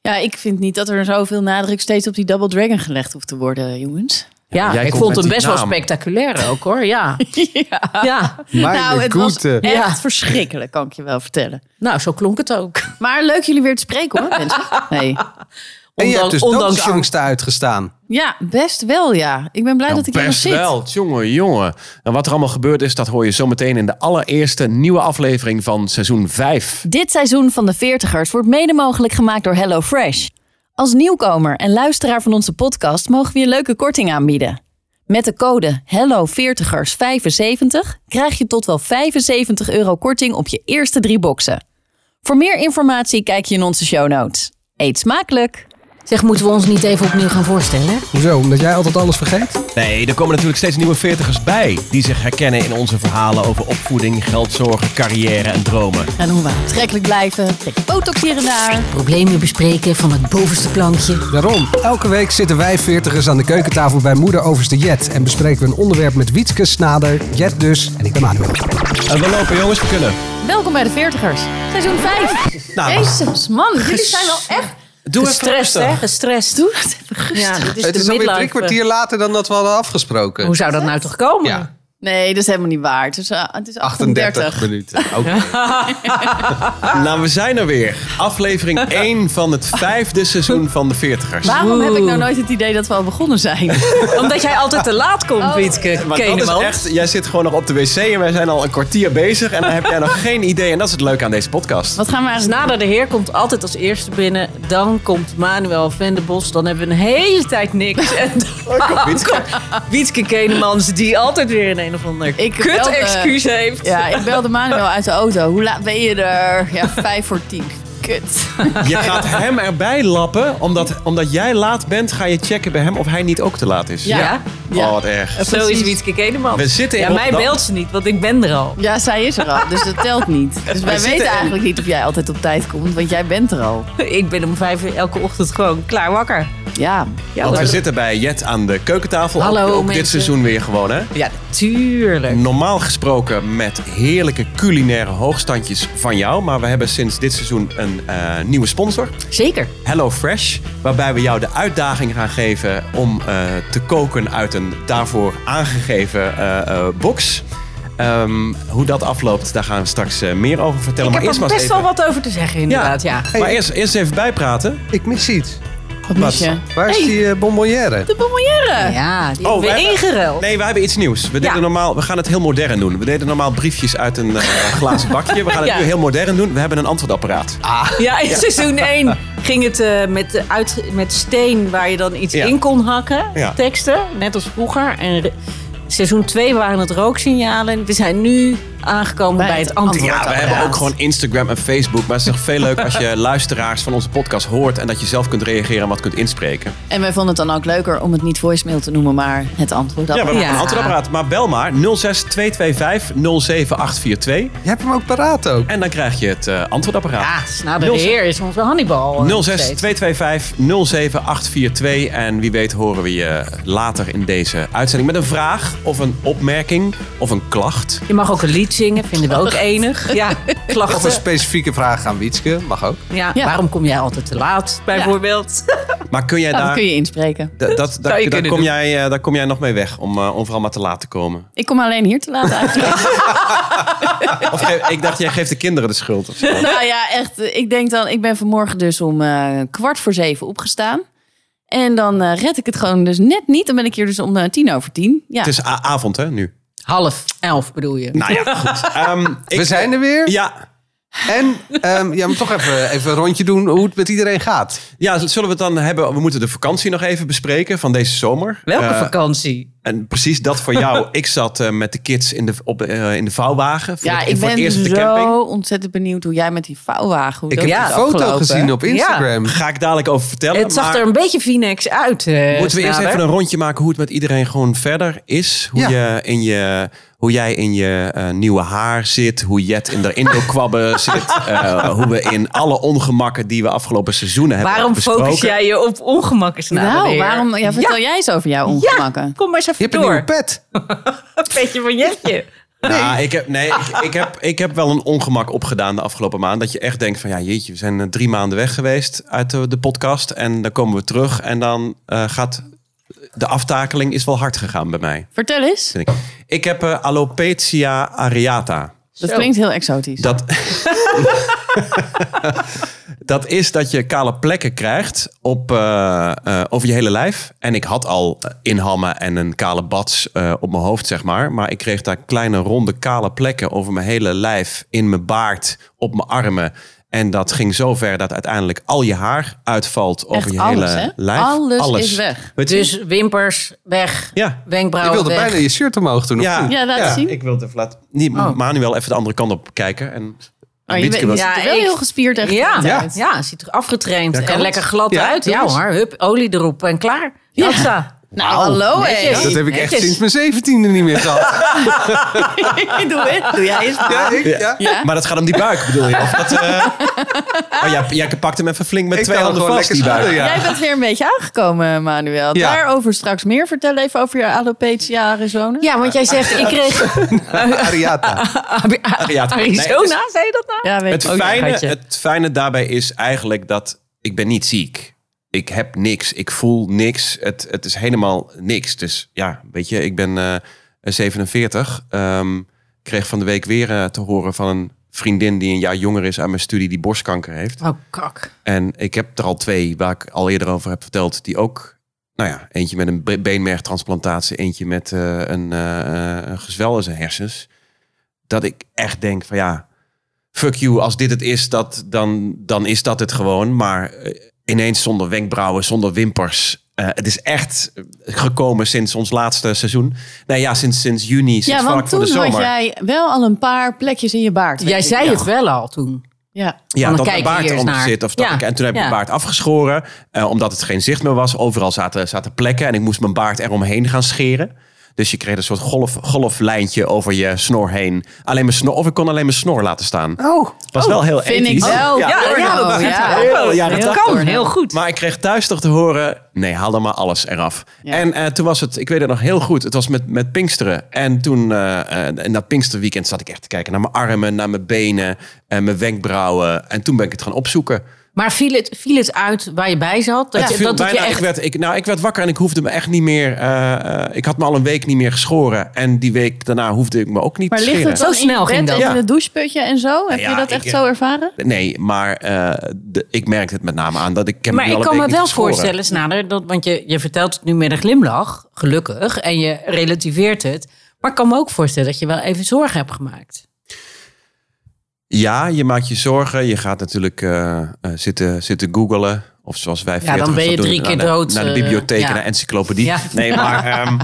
Ja, ik vind niet dat er zoveel nadruk steeds op die Double Dragon gelegd hoeft te worden, jongens. Ja, jij ik komt vond met hem die best wel naam. spectaculair ook hoor. Ja, ja. ja. Mijn nou, het was goede. echt Ja. verschrikkelijk, kan ik je wel vertellen. nou zo klonk het ook. Maar leuk jullie weer te spreken hoor, mensen. Nee. En je hebt dus ondanks- doodsangsten uitgestaan. Ja, best wel ja. Ik ben blij dat ik Nou, er nog best zit. wel, jongen, jongen. En wat er allemaal gebeurd is, dat hoor je zometeen in de allereerste nieuwe aflevering van seizoen 5. Dit seizoen van de Veertigers wordt mede mogelijk gemaakt door HelloFresh. Als nieuwkomer en luisteraar van onze podcast mogen we je leuke korting aanbieden. Met de code HELLO40ers75 krijg je tot wel 75 euro korting op je eerste drie boxen. Voor meer informatie kijk je in onze show notes. Eet smakelijk! Zeg, moeten we ons niet even opnieuw gaan voorstellen? Hoezo? Omdat jij altijd alles vergeet? Nee, er komen natuurlijk steeds nieuwe veertigers bij. Die zich herkennen in onze verhalen over opvoeding, geldzorgen, carrière en dromen. En hoe we Trekkelijk blijven, trek botox hier en daar. Problemen bespreken van het bovenste plankje. Daarom. Elke week zitten wij veertigers aan de keukentafel bij moeder overste Jet. En bespreken we een onderwerp met Wietske Snader, Jet dus en ik ben Manuel. En Eh, we lopen jongens, we kunnen. Welkom bij de Veertigers, seizoen 5. Jezus man, jullie zijn wel echt... Doe Gestrest, hè? Gestrest. Doe het even rustig. Ja, dit is Het de is alweer drie midlife. kwartier later dan dat we hadden afgesproken. Hoe zou dat nou toch komen? Ja, Nee, dat is helemaal niet waar. Het is, eh, het is 38, 38. minuten. Oké. Nou, we zijn er weer. Aflevering 1 van het vijfde seizoen van de veertigers. Waarom heb ik nou nooit het idee dat we al begonnen zijn? Omdat jij altijd te laat komt, Wietke. Maar dat is Keneman. echt, jij zit gewoon nog op de wc en wij zijn al een kwartier bezig en dan heb jij nog geen idee. En dat is het leuke aan deze podcast. Wat gaan we eigenlijk... Nader Dus de Heer komt altijd als eerste binnen. Dan komt Manuel Venderbos. Dan hebben we een hele tijd niks. En dan komt Wietke Kenemans, die altijd weer in een of ander Ik kut belde- excuus heeft. Ja, ik belde Manuel uit de auto. Hoe laat ben je er? Ja, vijf voor tien. Kut. Je gaat hem erbij lappen, omdat, omdat jij laat bent, ga je checken bij hem of hij niet ook te laat is. Ja. Ja, Ja. Oh, wat erg. zo is Wietke Kenemans. We zitten in ja, mij Rotterdam. belt ze niet, want ik ben er al. Ja, zij is er al, dus dat telt niet. Dus wij zitten weten in- eigenlijk niet of jij altijd op tijd komt, want jij bent er al. Ik ben om vijf uur elke ochtend gewoon klaar wakker. Ja. Ja, Want we dat- zitten bij Jet aan de keukentafel. Ook- Hallo, ook, dit mensen. seizoen weer gewoon, hè? ja tuurlijk. Normaal gesproken met heerlijke culinaire hoogstandjes van jou. Maar we hebben sinds dit seizoen een eh, nieuwe sponsor. Zeker. Hello Fresh. Waarbij we jou de uitdaging gaan geven om eh, te koken uit een daarvoor aangegeven eh, eh, box. Ehm, hoe dat afloopt, daar gaan we straks eh, meer over vertellen. ik heb maar er eerst maar best eens even... wel wat over te zeggen, inderdaad. Ja. Maar eerst, eerst even bijpraten. ik mis iets. Wat mis je? Waar is die eh, bonbonnière? De bonbonnière. Ja, die Oh, hebben we wij- ingeruild. Nee, we hebben iets nieuws. We, deden Ja. normaal, we gaan het heel modern doen. We deden normaal briefjes uit een eh, glazen bakje. We gaan het Ja. nu heel modern doen. We hebben een antwoordapparaat. Ja, in seizoen 1 ging het eh, met, de uit, met steen waar je dan iets Ja. in kon hakken. Ja. Teksten, net als vroeger. En re- seizoen 2 waren het rooksignalen. We zijn nu aangekomen bij, het antwoord. Ja, we hebben ook gewoon Instagram en Facebook. Maar het is nog veel leuk als je luisteraars van onze podcast hoort... en dat je zelf kunt reageren en wat kunt inspreken. En wij vonden het dan ook leuker om het niet voicemail te noemen, maar het antwoord. Ja, we hebben Ja. een antwoordapparaat. Maar bel maar 06 225 07842. Je hebt hem ook paraat ook. En dan krijg je het eh, Ja, antwoordapparaat. nou, de heer is onze Hannibal. eh, nog 06 steeds. 225 07842. En wie weet horen we je later in deze uitzending met een vraag of een opmerking of een klacht. Je mag ook een lied zingen, vinden we ook enig. Ja, Of eh. een klachten. specifieke vraag aan Wietske, mag ook. Ja, Ja. Waarom kom jij altijd te laat, bijvoorbeeld? Maar kun jij Nou, dat daar. kun je inspreken. da- dat, daar- je daar kunnen kom doen. jij, eh, daar kom jij nog mee weg om, eh, om vooral maar te laat te komen. Ik kom alleen hier te laat eigenlijk. Of ge- ik dacht, jij geeft de kinderen de schuld. Of zo. nou ja, echt. Ik denk dan, ik ben vanmorgen dus om eh, kwart voor zeven opgestaan. En dan eh, red ik het gewoon dus net niet. Dan ben ik hier dus om eh, tien over tien. Ja. Het is a- avond, hè, nu. Half elf bedoel je. Nou ja, goed. Ehm, ik- We zijn er weer. Ja, En ehm, ja, maar toch even, even een rondje doen hoe het met iedereen gaat. ja, zullen we het dan hebben? We moeten de vakantie nog even bespreken van deze zomer. Welke Eh, vakantie? En precies dat voor jou. Ik zat eh, met de kids in de, op, eh, in de vouwwagen. Voor Ja, het- ik voor het ben eerst op de zo camping. ontzettend benieuwd hoe jij met die vouwwagen... Hoe Ik dat heb is een foto afgelopen. gezien op Instagram. Ga ik dadelijk over vertellen. Het zag maar er een beetje Phoenix uit. eh, moeten we eerst Snader. even een rondje maken hoe het met iedereen gewoon verder is. Hoe, Ja. je in je, hoe jij in je eh, nieuwe haar zit. Hoe Jet in de Indo-kwabben zit. eh, hoe we in alle ongemakken die we afgelopen seizoenen hebben Waarom besproken. focus jij je op ongemakken? Snader de Nou, Heer? waarom, ja, vertel jij eens over jouw Ja, ongemakken. kom maar eens Je even hebt een nieuwe door. pet. Een beetje van Jetje. Nou, ik heb, nee, ik, ik, heb, ik heb wel een ongemak opgedaan de afgelopen maand. Dat je echt denkt van, ja jeetje, we zijn eh, drie maanden weg geweest uit de, de podcast. En dan komen we terug en dan eh, gaat... De aftakeling is wel hard gegaan bij mij. Vertel eens. vind ik. Ik heb eh, alopecia areata. Dat Zo. klinkt heel exotisch. Dat, dat is dat je kale plekken krijgt op, eh, eh, over je hele lijf. En ik had al eh, inhammen en een kale bats eh, op mijn hoofd, zeg maar. Maar ik kreeg daar kleine, ronde, kale plekken over mijn hele lijf. In mijn baard, op mijn armen. En dat ging zo ver dat uiteindelijk al je haar uitvalt over Echt je alles, hele hè? lijf. Alles is weg. Het is, Dus wimpers weg, ja, Je wenkbrauwen wilde Nou, weg. bijna je shirt omhoog doen. of Ja. niet? Ja, laat Ja, zien. ik wilde even laten... Oh. Niet, Manuel even de andere kant op kijken. En, Maar Oh, je Wietske bent, je was- ziet er wel Ja, ik- heel gespierd echt Ja, uit. ja. ziet er afgetraind en kan het. lekker glad Ja, uit. doe Ja eens. hoor, hup, olie erop en klaar. Ja. Nou, hallo hé. Netjes. Dat heb ik echt Netjes. sinds mijn zeventiende niet meer gehad. Doe het. Doe jij eens. Ja, ik, ja. Ja. Maar dat gaat om die buik, bedoel je? Of dat, eh, Oh, jij, jij pakt hem even flink met Ik twee kan hem handen gewoon vast, die lekker buik. schudden, ja. Jij bent weer een beetje aangekomen, Manuel. Ja. Daarover straks meer. Vertel even over je alopecia Arizona. Ja, want jij zegt, ik kreeg Ariata. Ariata. Arizona, zei je dat nou? Ja, weet Het ik ook. fijne, gatje. het fijne daarbij is eigenlijk dat ik ben niet ziek. Ik heb niks. Ik voel niks. Het, het is helemaal niks. Dus ja, weet je, ik ben eh, 47. Ehm, kreeg van de week weer eh, te horen van een vriendin die een jaar jonger is aan mijn studie die borstkanker heeft. Oh, kak. En ik heb er al twee waar ik al eerder over heb verteld, die ook, nou ja, eentje met een be- beenmergtransplantatie, eentje met eh, een, eh, eh, een gezwel in zijn hersens. Dat ik echt denk van ja, fuck you, als dit het is, dat, dan, dan is dat het gewoon. Maar eh, ineens zonder wenkbrauwen, zonder wimpers. Eh, het is echt gekomen sinds ons laatste seizoen. Nou ja, sinds, sinds juni, sinds Ja, vlak want voor de toen zomer. had jij wel al een paar plekjes in je baard. weet Jij ik. zei ja. het wel al toen. Ja. Ja, Van, kijk dat mijn hier baard eens eronder naar. zit. Of dat Ja. ik, en toen heb ik Ja. mijn baard afgeschoren. eh, omdat het geen zicht meer was. Overal zaten, zaten plekken. En ik moest mijn baard eromheen gaan scheren. Dus je kreeg een soort golf, golflijntje over je snor heen. Alleen mijn snor, of ik kon alleen mijn snor laten staan. Oh. was wel heel Vind ik ethisch. wel. Ja. Ja, dat is ja. heel- Heel- ja, dat dat dacht kan. ik. Heel goed. Maar ik kreeg thuis toch te horen, nee, haal dan maar alles eraf. Ja. En eh, toen was het, ik weet het nog heel goed, het was met, met Pinksteren. En toen, eh, eh, in dat Pinksterweekend zat ik echt te kijken naar mijn armen, naar mijn benen, en mijn wenkbrauwen. En toen ben ik het gaan opzoeken. Maar viel het, viel het uit waar je bij zat? Dat, Het je, viel dat het je bijna- echt... ik, werd, ik, nou, ik werd wakker en ik hoefde me echt niet meer. eh, eh, ik had me al een week niet meer geschoren. En die week daarna hoefde ik me ook niet Maar te ligt scheren. het dan Zo snel in je ging bed dat. en Ja. in het doucheputje en zo? Heb ja, je dat ik, echt eh, zo ervaren? Nee, maar eh, de, ik merkte het met name aan dat ik. ik Heb Maar nu al ik een kan week me niet wel geschoren. voorstellen, Snader, dat, want je, je vertelt het nu met een glimlach, gelukkig, en je relativeert het. Maar ik kan me ook voorstellen dat je wel even zorgen hebt gemaakt. Ja, je maakt je zorgen. Je gaat natuurlijk eh, eh, zitten, zitten googelen. Of zoals wij dan 40ers ben je dat doen, drie keer naar de- dood, Naar de eh, bibliotheek, ja. naar encyclopedie. Ja. Nee, maar... ehm,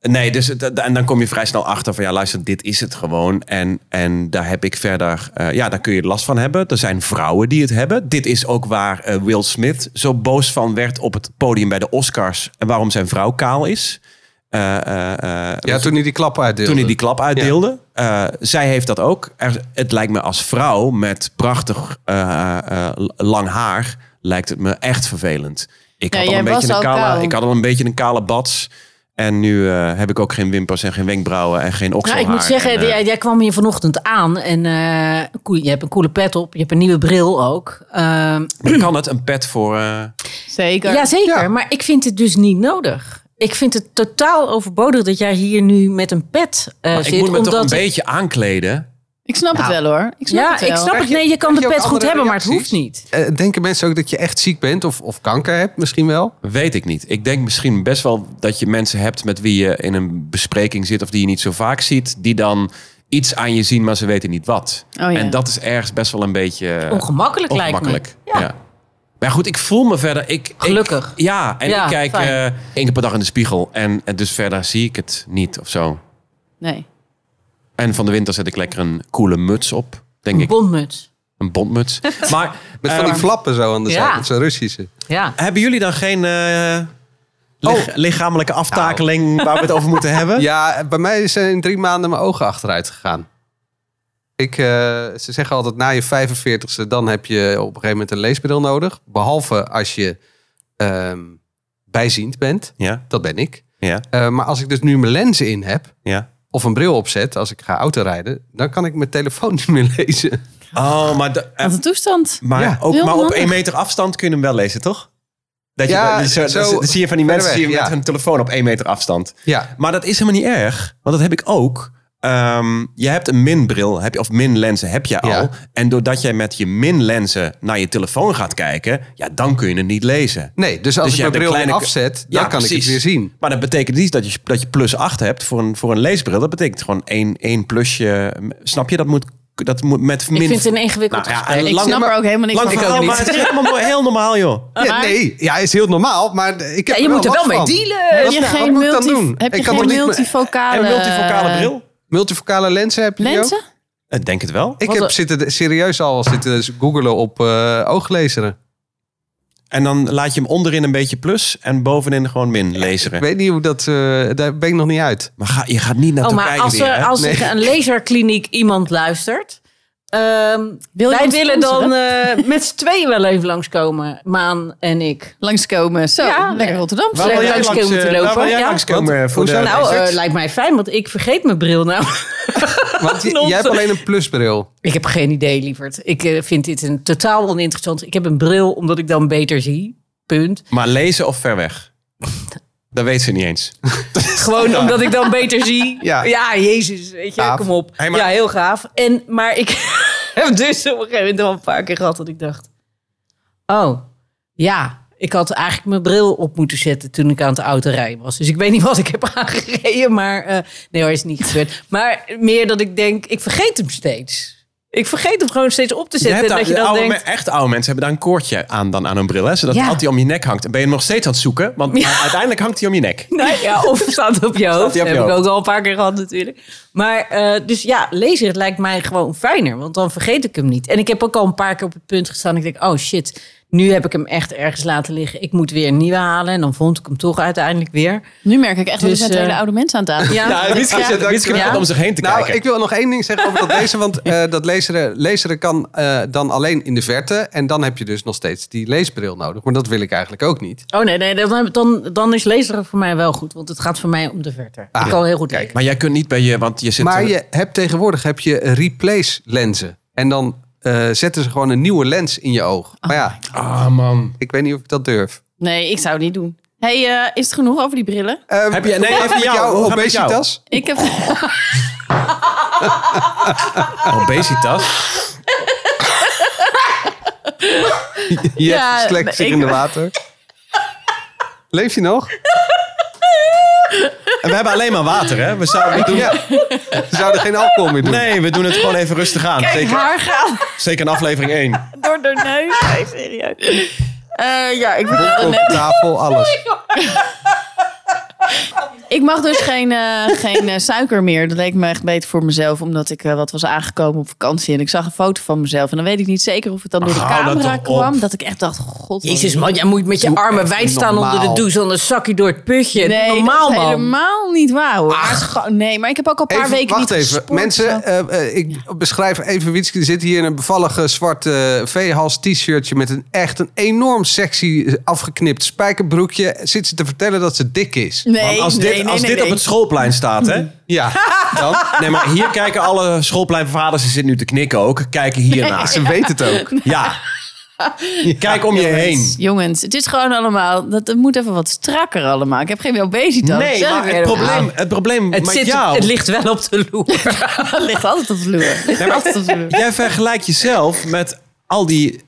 nee, dus, het- en dan kom je vrij snel achter van... Ja, luister, dit is het gewoon. En, en daar heb ik verder... eh, ja, daar kun je last van hebben. Er zijn vrouwen die het hebben. Dit is ook waar eh, Will Smith zo boos van werd... op het podium bij de Oscars. En waarom zijn vrouw kaal is. Eh, eh, eh, Ja, toen hij die klap uitdeelde. toen hij die klap uitdeelde. Eh, zij heeft dat ook. Er, het lijkt me als vrouw met prachtig eh, eh, lang haar... lijkt het me echt vervelend. Ik, Ja, had, al jij een was beetje een al kaal. kale, ik had al een beetje een kale bats. En nu eh, heb ik ook geen wimpers en geen wenkbrauwen en geen Nou, okselhaar. ik moet zeggen, En, eh, jij, jij kwam hier vanochtend aan en eh, koe- je hebt een coole pet op, je hebt een nieuwe bril ook. Ehm, maar kan het een pet voor... eh, Zeker. ja, zeker, Ja. maar ik vind het dus niet nodig. Ik vind het totaal overbodig dat jij hier nu met een pet eh, maar zit. ik moet me toch een omdat ik- beetje aankleden? ik snap Nou. het wel hoor. Ik snap Ja, het wel. ik snap Krijg het. je- Nee, je kan krijg de je ook pet goed andere hebben, maar het reacties? hoeft niet. Eh, denken mensen ook dat je echt ziek bent of, of kanker hebt misschien wel? Weet ik niet. Ik denk misschien best wel dat je mensen hebt... met wie je in een bespreking zit of die je niet zo vaak ziet... die dan iets aan je zien, maar ze weten niet wat. Oh, ja. En dat is ergens best wel een beetje... eh, Ongemakkelijk, Ongemakkelijk. lijkt me. Ja. Maar goed, ik voel me verder. Ik, Gelukkig. ik- ja, en Ja, ik kijk fijn. eh, één keer per dag in de spiegel. En, en dus verder zie ik het niet of zo. Nee. En van de winter zet ik lekker een coole muts op. Denk Een ik. bondmuts. Een bondmuts. maar Met van die ehm, flappen zo aan de ja. zijkant, zo'n Russische. Ja. hebben jullie dan geen eh, lig- Oh. lichamelijke aftakeling waar we het over moeten hebben? Ja, bij mij zijn in drie maanden mijn ogen achteruit gegaan. Ik, eh, ze zeggen altijd na je 45ste, dan heb je op een gegeven moment een leesbril nodig. Behalve als je ehm, bijziend bent. Ja, Dat ben ik. ja, Eh, maar als ik dus nu mijn lenzen in heb, ja. of een bril opzet als ik ga autorijden, dan kan ik mijn telefoon niet meer lezen. Oh, maar, de- eh, Wat een toestand. maar, Ja. ook, Heel maar op handig. één meter afstand kun je hem wel lezen, toch? Dat je, Ja, dat- dus, eh, zo, zo- dat- dat zie je van die verder mensen weg, zie je met ja. hun telefoon op één meter afstand. Ja, Maar dat is helemaal niet erg, want dat heb ik ook. Ehm, je hebt een minbril heb je, of minlenzen heb je al. Ja. En doordat jij met je minlenzen naar je telefoon gaat kijken, ja, dan kun je het niet lezen. nee, dus als Dus ik je mijn hebt bril een weer kleine- afzet, Ja, dan kan ik precies. het weer zien. Maar dat betekent niet dat je, dat je plus 8 hebt voor een, voor een leesbril. Dat betekent gewoon één, één plusje. Snap je? Dat moet, dat moet met min... Ik vind het een ingewikkeld Nou ja, gesprek. Ik lang- snap er ook helemaal niks Lang van. verhaal, maar het is helemaal mooi- heel normaal, joh. Ja, nee, ja, is heel normaal, maar ik heb je moet er wel last mee van. dealen. Wat- Heb je wat geen, moet ik dan multi- doen? Heb je Ik kan geen toch niet- multifocale... eh, En een multifocale bril? Multifocale lenzen heb je die ook? Lenzen? Ik denk het wel. Ik Wat heb een- zitten, serieus al zitten dus googelen op eh, ooglezeren. En dan laat je hem onderin een beetje plus en bovenin gewoon min lezen. Ik weet niet hoe dat... eh, daar ben ik nog niet uit. Maar ga, je gaat niet naar Oh, maar Turkije als weer, er, hè? als Nee. er een laserkliniek iemand luistert. ehm, Wil je wij ons willen dan sponsoren? eh, met z'n tweeën wel even langskomen, Maan en ik. Langskomen. Zo, Ja. lekker Rotterdam. Waar wil Leuk jij langs langs, komen te eh, waar wil lopen, jij ja. langskomen Want- voor de hoezo nou, research? eh, lijkt mij fijn, want ik vergeet mijn bril nou. Want j- jij Nonsens. hebt alleen een plusbril. ik heb geen idee, lieverd. Ik eh, vind dit een totaal oninteressant. Ik heb een bril omdat ik dan beter zie. Punt. Maar lezen of ver weg? Dat weet ze niet eens. Gewoon omdat ik dan beter zie. Ja. Ja, jezus, weet je, Gaaf. kom op. Hey, maar- Ja, heel gaaf. En, maar ik heb dus op een gegeven moment al een paar keer gehad dat ik dacht... Oh, ja, ik had eigenlijk mijn bril op moeten zetten toen ik aan het autorijden was. Dus ik weet niet wat ik heb aangereden, maar... eh, nee hoor, is niet gebeurd. Maar meer dat ik denk, ik vergeet hem steeds. Ik vergeet hem gewoon steeds op te Je zetten. hebt en daar- dat je dan oude denkt... me- echt oude mensen hebben daar een koordje aan, dan aan hun bril. Hè? Zodat Ja. het altijd om je nek hangt. En ben je hem nog steeds aan het zoeken? Want maar uiteindelijk hangt hij om je nek. Nee, ja, of staat op je hoofd. hij op Dat je heb ik hoofd. ook al een paar keer gehad natuurlijk. Maar eh, dus ja, lezen het lijkt mij gewoon fijner. Want dan vergeet ik hem niet. En ik heb ook al een paar keer op het punt gestaan. Ik denk, oh shit, nu heb ik hem echt ergens laten liggen. Ik moet weer een nieuwe halen. En dan vond ik hem toch uiteindelijk weer. Nu merk ik echt dat Dus, we met eh, hele oude mensen aan tafel Ja, Ja, Witske Ja, zit- Witske dankjewel. zit om zich heen te Nou, kijken. ik wil nog één ding zeggen over dat lezen. Want eh, dat lezen, lezen kan eh, dan alleen in de verte. En dan heb je dus nog steeds die leesbril nodig. Maar dat wil ik eigenlijk ook niet. Oh nee, nee dan, dan, dan is lezen voor mij wel goed. Want het gaat voor mij om de verter. Ah, ik kan heel goed lezen. Maar jij kunt niet bij je, want je zit... Maar eh, je hebt tegenwoordig heb je replace lenzen. En dan eh, zetten ze gewoon een nieuwe lens in je oog. Maar ja, Ah, man. ik weet niet of ik dat durf. Nee, ik zou het niet doen. Hey, eh, is het genoeg over die brillen? Eh, Heb je- nee, hoe gaat even het met jou. Hoe jouw gaat het met jou? obesitas? Ik heb... Obesitas. Je Ja, hebt slekt zich ik- in de water. Leef je nog? En we hebben alleen maar water, hè? We, zouden, we doen... Ja. Ze zouden geen alcohol meer doen. Nee, we doen het gewoon even rustig aan. Zeker, Haar gaat zeker in aflevering 1. door de neus. Nee, serieus. Eh, ja, ik bedoel... Op tafel, alles. Ik mag dus geen, eh, geen eh, suiker meer. Dat leek me echt beter voor mezelf. Omdat ik eh, wat was aangekomen op vakantie. En ik zag een foto van mezelf. En dan weet ik niet zeker of het dan door de Ach, Ah, hou dat camera toch kwam. op. Dat ik echt dacht, god. wat Jezus een- man, jij moet met je Doe armen echt wijd staan onder de normaal. douche. Anders zak je door het putje. Nee, dat is normaal man. helemaal niet waar hoor. Maar het is gewoon- nee, maar ik heb ook al een paar Even, weken wacht niet even. gesport. Mensen, eh, eh, ik beschrijf even Wietske. Er zit hier in een bevallige zwart eh, V-hals t-shirtje... met een echt een enorm sexy eh, afgeknipt spijkerbroekje. Zit ze te vertellen dat ze dik is. Nee, als dit, nee, nee, als nee, dit nee. op het schoolplein staat, hè? Ja, dan, Nee, maar hier kijken alle schoolpleinvaders, ze zitten nu te knikken ook, kijken hiernaar. ze weet het ook. Ja. Kijk om je heen. Jongens, het is gewoon allemaal... Dat, het moet even wat strakker allemaal. Ik heb geen obesitas. Nee, zeg maar ik het helemaal. probleem, het probleem Het, met zit, jou... het ligt wel op de loer. Het ligt altijd op de vloer. Het ligt altijd op de vloer. Jij vergelijkt jezelf met al die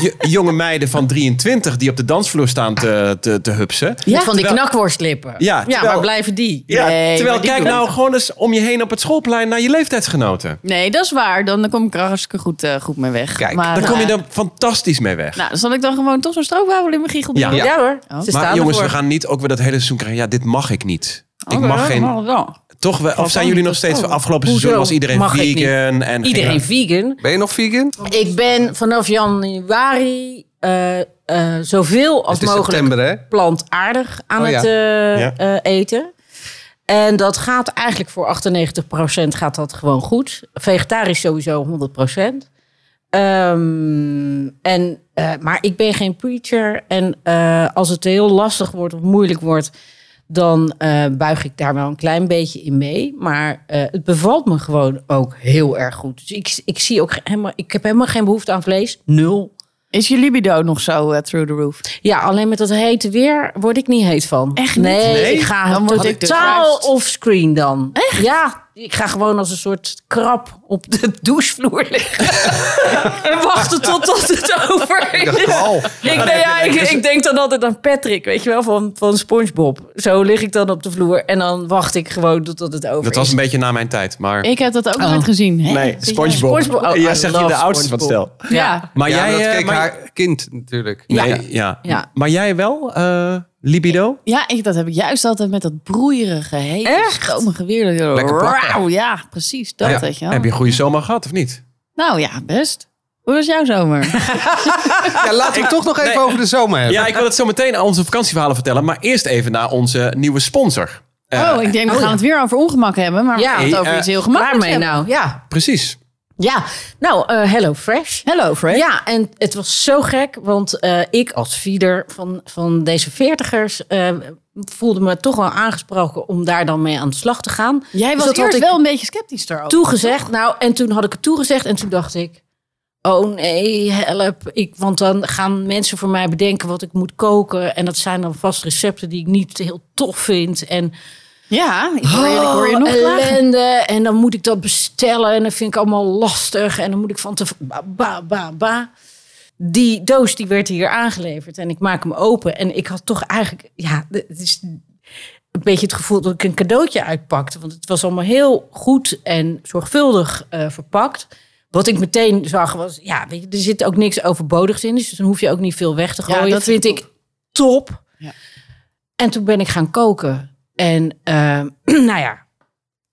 j- jonge meiden van 23 die op de dansvloer staan te, te, te hupsen. Ja, van die terwijl- knakworstlippen. Ja, terwijl- maar blijven die? Ja, Nee, terwijl maar die kijk doen nou gewoon eens om je heen op het schoolplein naar je leeftijdsgenoten. Nee, dat is waar. Dan, dan kom ik er hartstikke goed, eh, goed mee weg. Kijk, maar, nou Daar kom je eh, dan fantastisch mee weg. Nou, dan zal ik dan gewoon toch zo'n stroopwafel in mijn giegel doen. Ja. Ja, hoor, ze maar staan jongens, we ervoor. gaan niet ook weer dat hele seizoen krijgen. Ja, dit mag ik niet. Ik Oh, mag ja, geen... maar wel. Toch wel, of zijn jullie nog steeds van afgelopen Oh, Hoezo? seizoen was iedereen Mag ik niet. vegan en Iedereen ging- vegan. Ben je nog vegan? Ik ben vanaf januari eh, eh, zoveel als Het is mogelijk september, hè? plantaardig aan Oh, ja. het eh, Ja. eh, eten. En dat gaat eigenlijk voor 98% gaat dat gewoon goed. Vegetarisch sowieso 100%. Ehm, en, eh, maar ik ben geen preacher. En eh, als het heel lastig wordt of moeilijk wordt, dan eh, buig ik daar wel een klein beetje in mee. Maar eh, het bevalt me gewoon ook heel erg goed. Dus ik, ik, zie ook helemaal, ik heb helemaal geen behoefte aan vlees. Nul. Is je libido nog zo eh, through the roof? Ja, alleen met dat hete weer word ik niet heet van. Echt niet? Nee, Nee? ik ga Dan word ik totaal depressed. offscreen dan. Echt? Ja, ik ga gewoon als een soort krab op de douchevloer liggen. en wachten totdat het over Ik is. dacht, oh, Ik, ben, ja, ik, ik denk dan altijd aan Patrick, weet je wel, van, van Spongebob. Zo lig ik dan op de vloer en dan wacht ik gewoon totdat het over Dat was is. een beetje na mijn tijd, maar... Ik heb dat ook Oh. nooit gezien. Hè? Zie Nee, jij? Spongebob. Spongebob. Oh, ja, I zegt hij love de oudste van het stel. Ja. Maar ja, jij... maar dat eh, keek maar- haar kind natuurlijk. Nee, Ja. ja. Ja. Maar jij wel, eh, libido? Ja, ik, dat heb ik juist altijd met dat broeierige, hete, Echt? stomige weer. Lekker plakken. Rauw, ja, precies. Dat, Ja. weet je wel. Heb je een goede zomer gehad, of niet? Nou ja, best. Hoe was jouw zomer? Ja, laten we het toch nog even over de zomer hebben. Ja, ik wil het zo meteen aan onze vakantieverhalen vertellen. Maar eerst even naar onze nieuwe sponsor. Eh, oh, ik denk we gaan het weer over ongemak hebben. Maar we Ja. gaan het over Eh, iets heel gemakkelijks Waarmee nou? Ja, Precies. ja. nou, eh, Hello Fresh. Hello, Fresh. Ja, en het was zo gek, want eh, ik als feeder van, van deze veertigers eh, voelde me toch wel aangesproken om daar dan mee aan de slag te gaan. Jij was dat had eerst ik- wel een beetje sceptisch daarover. Toegezegd, nou, en toen had ik het toegezegd en toen dacht ik, oh nee, help. Ik, want dan gaan mensen voor mij bedenken wat ik moet koken en dat zijn dan vast recepten die ik niet heel tof vind. En Ja, ik hoor je, ik hoor je nog Oh, klagen. ellende. En dan moet ik dat bestellen. En dat vind ik allemaal lastig. En dan moet ik van te... Ba, ba, ba, ba. Die doos die werd hier aangeleverd. En ik maak hem open. En ik had toch eigenlijk... Ja, de- het is een beetje het gevoel dat ik een cadeautje uitpakte. Want het was allemaal heel goed en zorgvuldig eh, verpakt. Wat ik meteen zag was... Ja, weet je, er zit ook niks overbodigs in. Dus dan hoef je ook niet veel weg te Ja, gooien. dat dat vind ik top. Ja. En toen ben ik gaan koken. En eh, nou ja,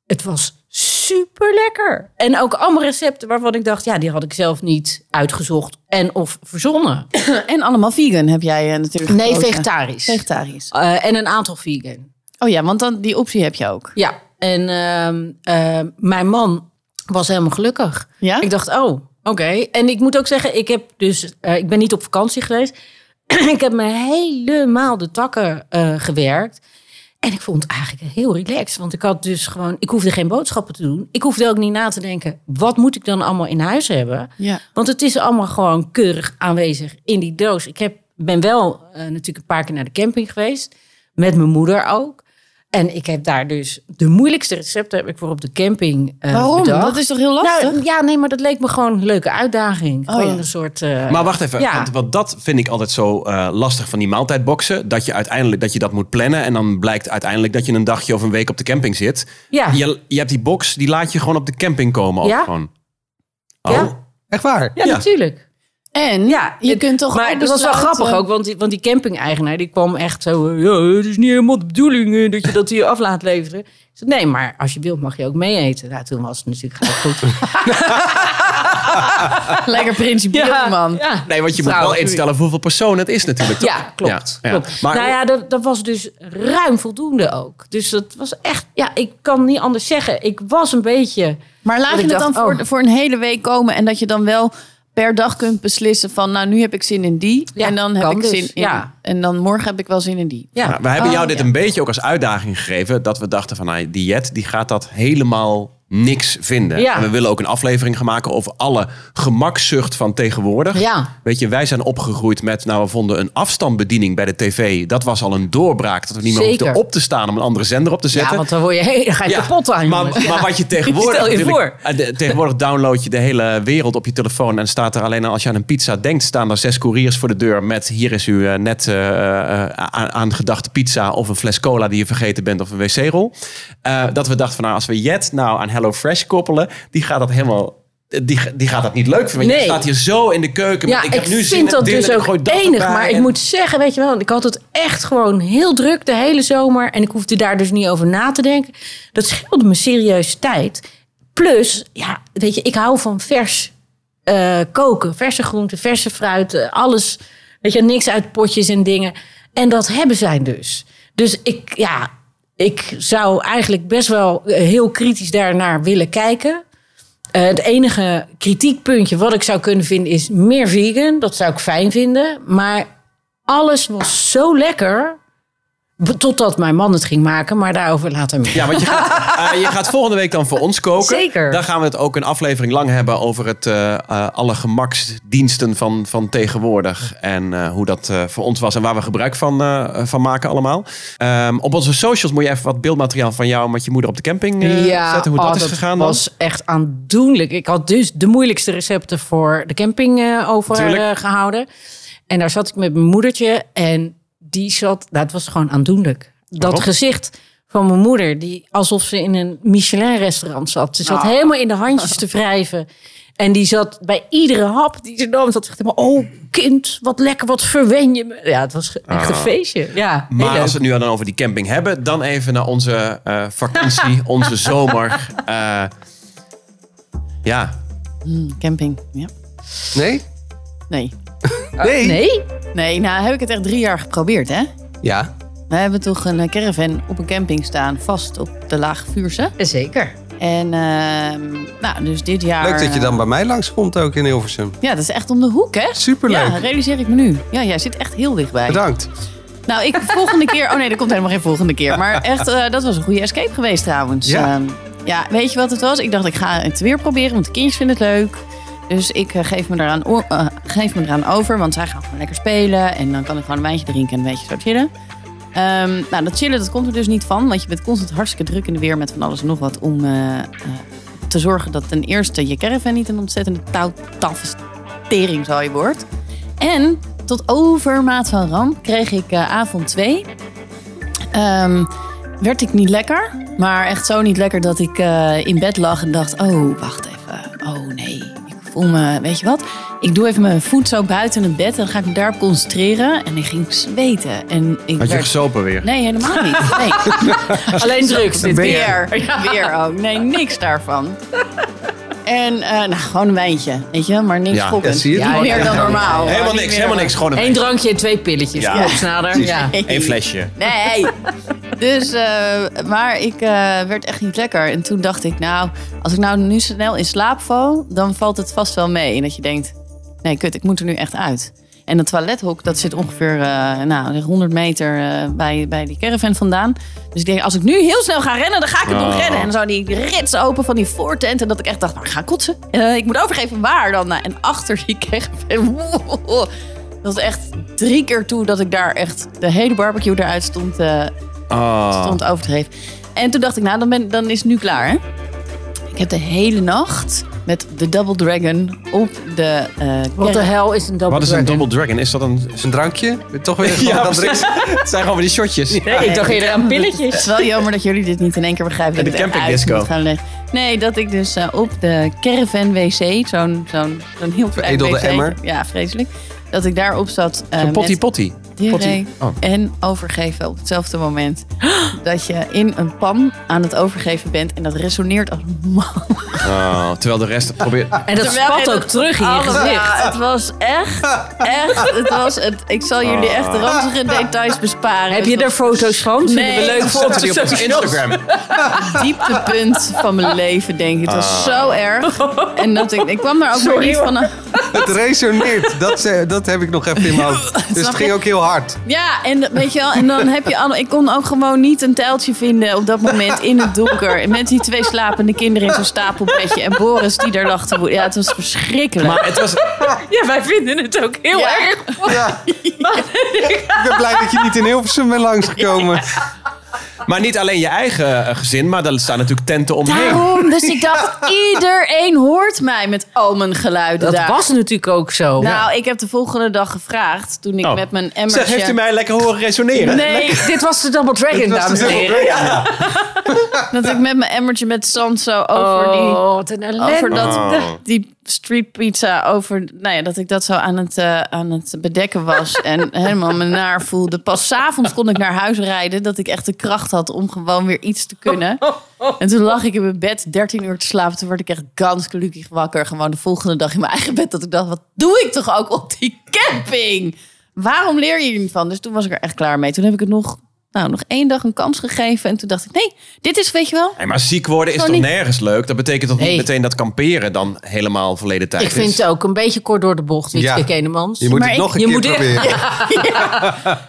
het was super lekker. En ook allemaal recepten waarvan ik dacht, ja, die had ik zelf niet uitgezocht en of verzonnen. En allemaal vegan heb jij eh, natuurlijk Nee, gekozen. vegetarisch. Vegetarisch. Eh, en een aantal vegan. Oh ja, want dan, die optie heb je ook. Ja. En ehm, ehm, mijn man was helemaal gelukkig. Ja? Ik dacht, oh, oké. En ik moet ook zeggen, ik, heb dus, eh, ik ben niet op vakantie geweest. ik heb me helemaal de takken eh, gewerkt. En ik vond het eigenlijk heel relaxed. Want ik had dus gewoon, ik hoefde geen boodschappen te doen. Ik hoefde ook niet na te denken, wat moet ik dan allemaal in huis hebben? ja. Want het is allemaal gewoon keurig aanwezig in die doos. Ik heb, ben wel eh, natuurlijk een paar keer naar de camping geweest. Met mijn moeder ook. En ik heb daar dus de moeilijkste recepten heb ik voor op de camping eh, Waarom? bedacht. Dat is toch heel lastig? Nou, ja, nee, maar dat leek me gewoon een leuke uitdaging. Oh, gewoon ja. een soort... eh, Maar wacht even, Ja. want, want dat vind ik altijd zo eh, lastig van die maaltijdboxen. Dat je uiteindelijk dat je dat moet plannen. En dan blijkt uiteindelijk dat je een dagje of een week op de camping zit. ja. Je, je hebt die box, die laat je gewoon op de camping komen. Ook Ja. gewoon. Oh. Ja. Echt waar? Ja, Ja. natuurlijk. En Ja, je het- kunt toch maar ook dat was wel besluiten- grappig ook, want die, want die camping-eigenaar die kwam echt zo... eh, Ja, het is niet helemaal de bedoeling eh, dat je dat hier af laat leveren. Ik zei, nee, maar als je wilt mag je ook mee eten. Nou, toen was het natuurlijk gelijk goed. Lekker principieel, man. Ja, Nee, want je moet Trouwens, wel instellen voor hoeveel persoon het is natuurlijk. toch? ja klopt. Ja, ja. klopt. Maar- nou ja, dat, dat was dus ruim voldoende ook. Dus dat was echt... Ja, ik kan niet anders zeggen. Ik was een beetje... Maar laat Dat je ik het dacht, dan voor, oh. voor een hele week komen en dat je dan wel per dag kunt beslissen van nou nu heb ik zin in die Ja, en dan heb kan ik dus, zin in ja. en dan morgen heb ik wel zin in die. Ja, Nou, we hebben Oh, jou dit ja. een beetje ook als uitdaging gegeven. Dat we dachten van, nou, die Jet die gaat dat helemaal niks vinden. Ja. En we willen ook een aflevering gaan maken over alle gemakzucht van tegenwoordig. Ja. Weet je, wij zijn opgegroeid met, nou we vonden een afstandsbediening bij de tv. Dat was al een doorbraak. Dat we niet meer Zeker. hoefden op te staan om een andere zender op te zetten. Ja, want dan, word je, heel- dan ga je Ja, kapot aan, maar, jongens. maar wat je tegenwoordig. Stel je natuurlijk- eh, de- tegenwoordig download je de hele wereld op je telefoon. En staat er alleen al als je aan een pizza denkt. staan er zes couriers voor de deur. met hier is u eh, net eh, eh, aan, aan gedachte pizza. of een fles cola die je vergeten bent. of een wc-rol. Eh, dat we dachten van nou, als we Jet nou aan HelloFresh koppelen. die gaat dat helemaal. Die, die gaat dat niet leuk vinden. Want Nee. Je staat hier zo in de keuken. Ja, met, ik, heb nu zin vind in dat dit dus en ik ook gooi dat enig. erbij Maar ik en- moet zeggen, weet je wel, want ik had het echt gewoon heel druk de hele zomer. En ik hoefde daar dus niet over na te denken. Dat scheelde me serieus tijd. Plus, ja, weet je, ik hou van vers eh, koken. Verse groenten, verse fruit, eh, alles. Weet je, niks uit potjes en dingen. En dat hebben zij dus. Dus ik, ja, ik zou eigenlijk best wel eh, heel kritisch daarnaar willen kijken. Eh, het enige kritiekpuntje wat ik zou kunnen vinden is meer vegan. Dat zou ik fijn vinden. Maar alles was zo lekker. B- Totdat mijn man het ging maken, maar daarover later meer. Ja, want je gaat, eh, je gaat volgende week dan voor ons koken. Zeker. Dan gaan we het ook een aflevering lang hebben over het, eh, eh, alle gemaksdiensten van, van tegenwoordig. En eh, hoe dat eh, voor ons was en waar we gebruik van, eh, van maken allemaal. Ehm, op onze socials moet je even wat beeldmateriaal van jou met je moeder op de camping eh, zetten. Hoe oh, dat is gegaan dan. was echt aandoenlijk. Ik had dus de moeilijkste recepten voor de camping eh, over Tuurlijk. eh, gehouden. En daar zat ik met mijn moedertje en die zat, dat was gewoon aandoenlijk. Dat Waarom? gezicht van mijn moeder, die alsof ze in een Michelin-restaurant zat. Ze Ah. zat helemaal in de handjes te wrijven. En die zat bij iedere hap die ze nam, zat ze echt helemaal, oh kind, wat lekker, wat verwen je me. Ja, het was ge- echt een feestje. Ja, heel Ah. Maar leuk. als we het nu dan over die camping hebben, dan even naar onze eh, vakantie, onze zomer. Eh, ja, Hmm, Camping. Ja. Nee? Nee. Nee. Nee? Nee, nou heb ik het echt drie jaar geprobeerd, hè? Ja. We hebben toch een eh, caravan op een camping staan, vast op de Lage Vuurse. eh, Zeker. En ehm, nou, dus dit jaar... Leuk dat je dan eh, bij mij langskomt ook in Hilversum. Ja, dat is echt om de hoek, hè? Superleuk. Ja, realiseer ik me nu. Ja, jij zit echt heel dichtbij. Bedankt. Nou, ik volgende keer... Oh nee, er komt helemaal geen volgende keer. Maar echt, eh, dat was een goede escape geweest trouwens. Ja. Ehm, ja, weet je wat het was? Ik dacht, ik ga het weer proberen, want de kindjes vinden het leuk. Dus ik eh, geef, me eraan oor- eh, geef me eraan over, want zij gaan gewoon lekker spelen. En dan kan ik gewoon een wijntje drinken en een beetje zo chillen. Ehm, nou, dat chillen, dat komt er dus niet van. Want je bent constant hartstikke druk in de weer met van alles en nog wat. Om eh, eh, te zorgen dat ten eerste je caravan niet een ontzettende touwtafestering zal je wordt. En tot overmaat van ramp kreeg ik eh, avond 2. werd ik niet lekker, maar echt zo niet lekker dat ik eh, in bed lag en dacht: Oh, wacht even. Oh nee, ik voel me, weet je wat? Ik doe even mijn voet zo buiten het bed en dan ga ik me daarop concentreren. En ik ging zweten. En ik had je werd- gesopen weer? Nee, helemaal niet. Nee. Alleen drugs dit keer. weer. Weer ook. Nee, niks daarvan. En eh, nou, gewoon een wijntje, weet je, maar niks Ja. Ja, schokkend. zie je het? Niet meer dan normaal. Helemaal niks, helemaal niks. Gewoon een Eén drankje en twee pilletjes. Ja. Ja. Klopt, Snader. Ja. Nee. Eén flesje. Nee. Dus, eh, maar ik eh, werd echt niet lekker. En toen dacht ik, nou, als ik nou nu snel in slaap val, dan valt het vast wel mee. En dat je denkt, nee, kut, ik moet er nu echt uit. En dat toilethok, dat zit ongeveer eh, nou, 100 meter eh, bij, bij die caravan vandaan. Dus ik denk, als ik nu heel snel ga rennen, dan ga ik het nog Oh. rennen. En zo die rits open van die voortent. En dat ik echt dacht, nou, ik ga kotsen. Eh, ik moet overgeven waar dan. Nou, en achter die caravan. Dat was echt drie keer toe dat ik daar echt de hele barbecue eruit stond, eh, Oh. stond over te geven. En toen dacht ik, nou, dan, ben, dan is het nu klaar, hè? Ik heb de hele nacht met de Double Dragon op de... eh Wat de kerk- hel is een double Wat is een dragon? double dragon? Is dat een... Is een drankje? Toch weer Ja, dan precies. Het zijn gewoon weer die shotjes. Nee, ik dacht eerder aan Het pilletjes. is wel jammer dat jullie dit niet in één keer begrijpen. En dat de ik het camping uit disco. moet gaan leggen. Nee, dat ik dus eh, op de caravan wc, zo'n zo'n zo'n heel klein Veredelde wc, emmer. Ja, vreselijk. Dat ik daarop zat eh, Een potty met potty. diarree Oh. en overgeven op hetzelfde moment. Dat je in een pan aan het overgeven bent en dat resoneert als een man. Oh, terwijl de rest probeert... En dat Terwijl spat het- ook terug in je Allemaal. gezicht. het was echt, echt, het was het. Ik zal jullie echt ranzige details besparen. Heb je Het er foto's van? Vinden Nee. we leuk Zet foto's. Zetten die op ons Instagram. dieptepunt van mijn leven, denk ik. Het was zo erg. En dat ik, ik kwam daar ook weer niet van. Het resoneert. Dat, ze- dat heb ik nog even in mijn hoofd. Dus Snap het je? ging ook heel hard. Ja, en weet je wel, en dan heb je allemaal. Ik kon ook gewoon niet een tijltje vinden op dat moment in het donker. Met die twee slapende kinderen in zo'n stapelbedje. En Boris die daar lag te woeden. Ja, het was verschrikkelijk. Maar het was... Ja, wij vinden het ook heel Ja. erg. Ja. Ik ben blij dat je niet in Hilversum bent langsgekomen. Maar niet alleen je eigen eh, gezin, maar daar staan natuurlijk tenten omheen. Daarom, dus ik dacht, iedereen hoort mij met al mijn geluiden Dat daar. was natuurlijk ook zo. Nou, ik heb de volgende dag gevraagd toen ik Oh. met mijn Zeg, emmertje... heeft u mij lekker horen resoneren? Nee, Dit was de Double Dragon, Dit was dus- de dames en Double heren. dat ik met mijn emmertje met zand zo over die... Oh, wat een Over ellende. dat, Oh. die street pizza, over, nou ja, dat ik dat zo aan het, eh, aan het bedekken was. En helemaal me naar voelde. Pas 's avonds kon ik naar huis rijden. Dat ik echt de kracht had om gewoon weer iets te kunnen. En toen lag ik in mijn bed 13 uur te slapen. Toen werd ik echt gans gelukkig wakker. Gewoon de volgende dag in mijn eigen bed. Dat ik dacht, wat doe ik toch ook op die camping? Waarom leer je hier niet van? Dus toen was ik er echt klaar mee. Toen heb ik het nog, nou, nog één dag een kans gegeven. En toen dacht ik, nee, dit is, weet je wel, Nee, maar ziek worden is Gewoon toch niet. nergens leuk? Dat betekent toch niet Nee. meteen dat kamperen dan helemaal verleden tijd Ik vind is? het ook een beetje kort door de bocht, Wietske Ja. Kenemans. Je moet Maar het ik- nog een je keer moet echt- proberen.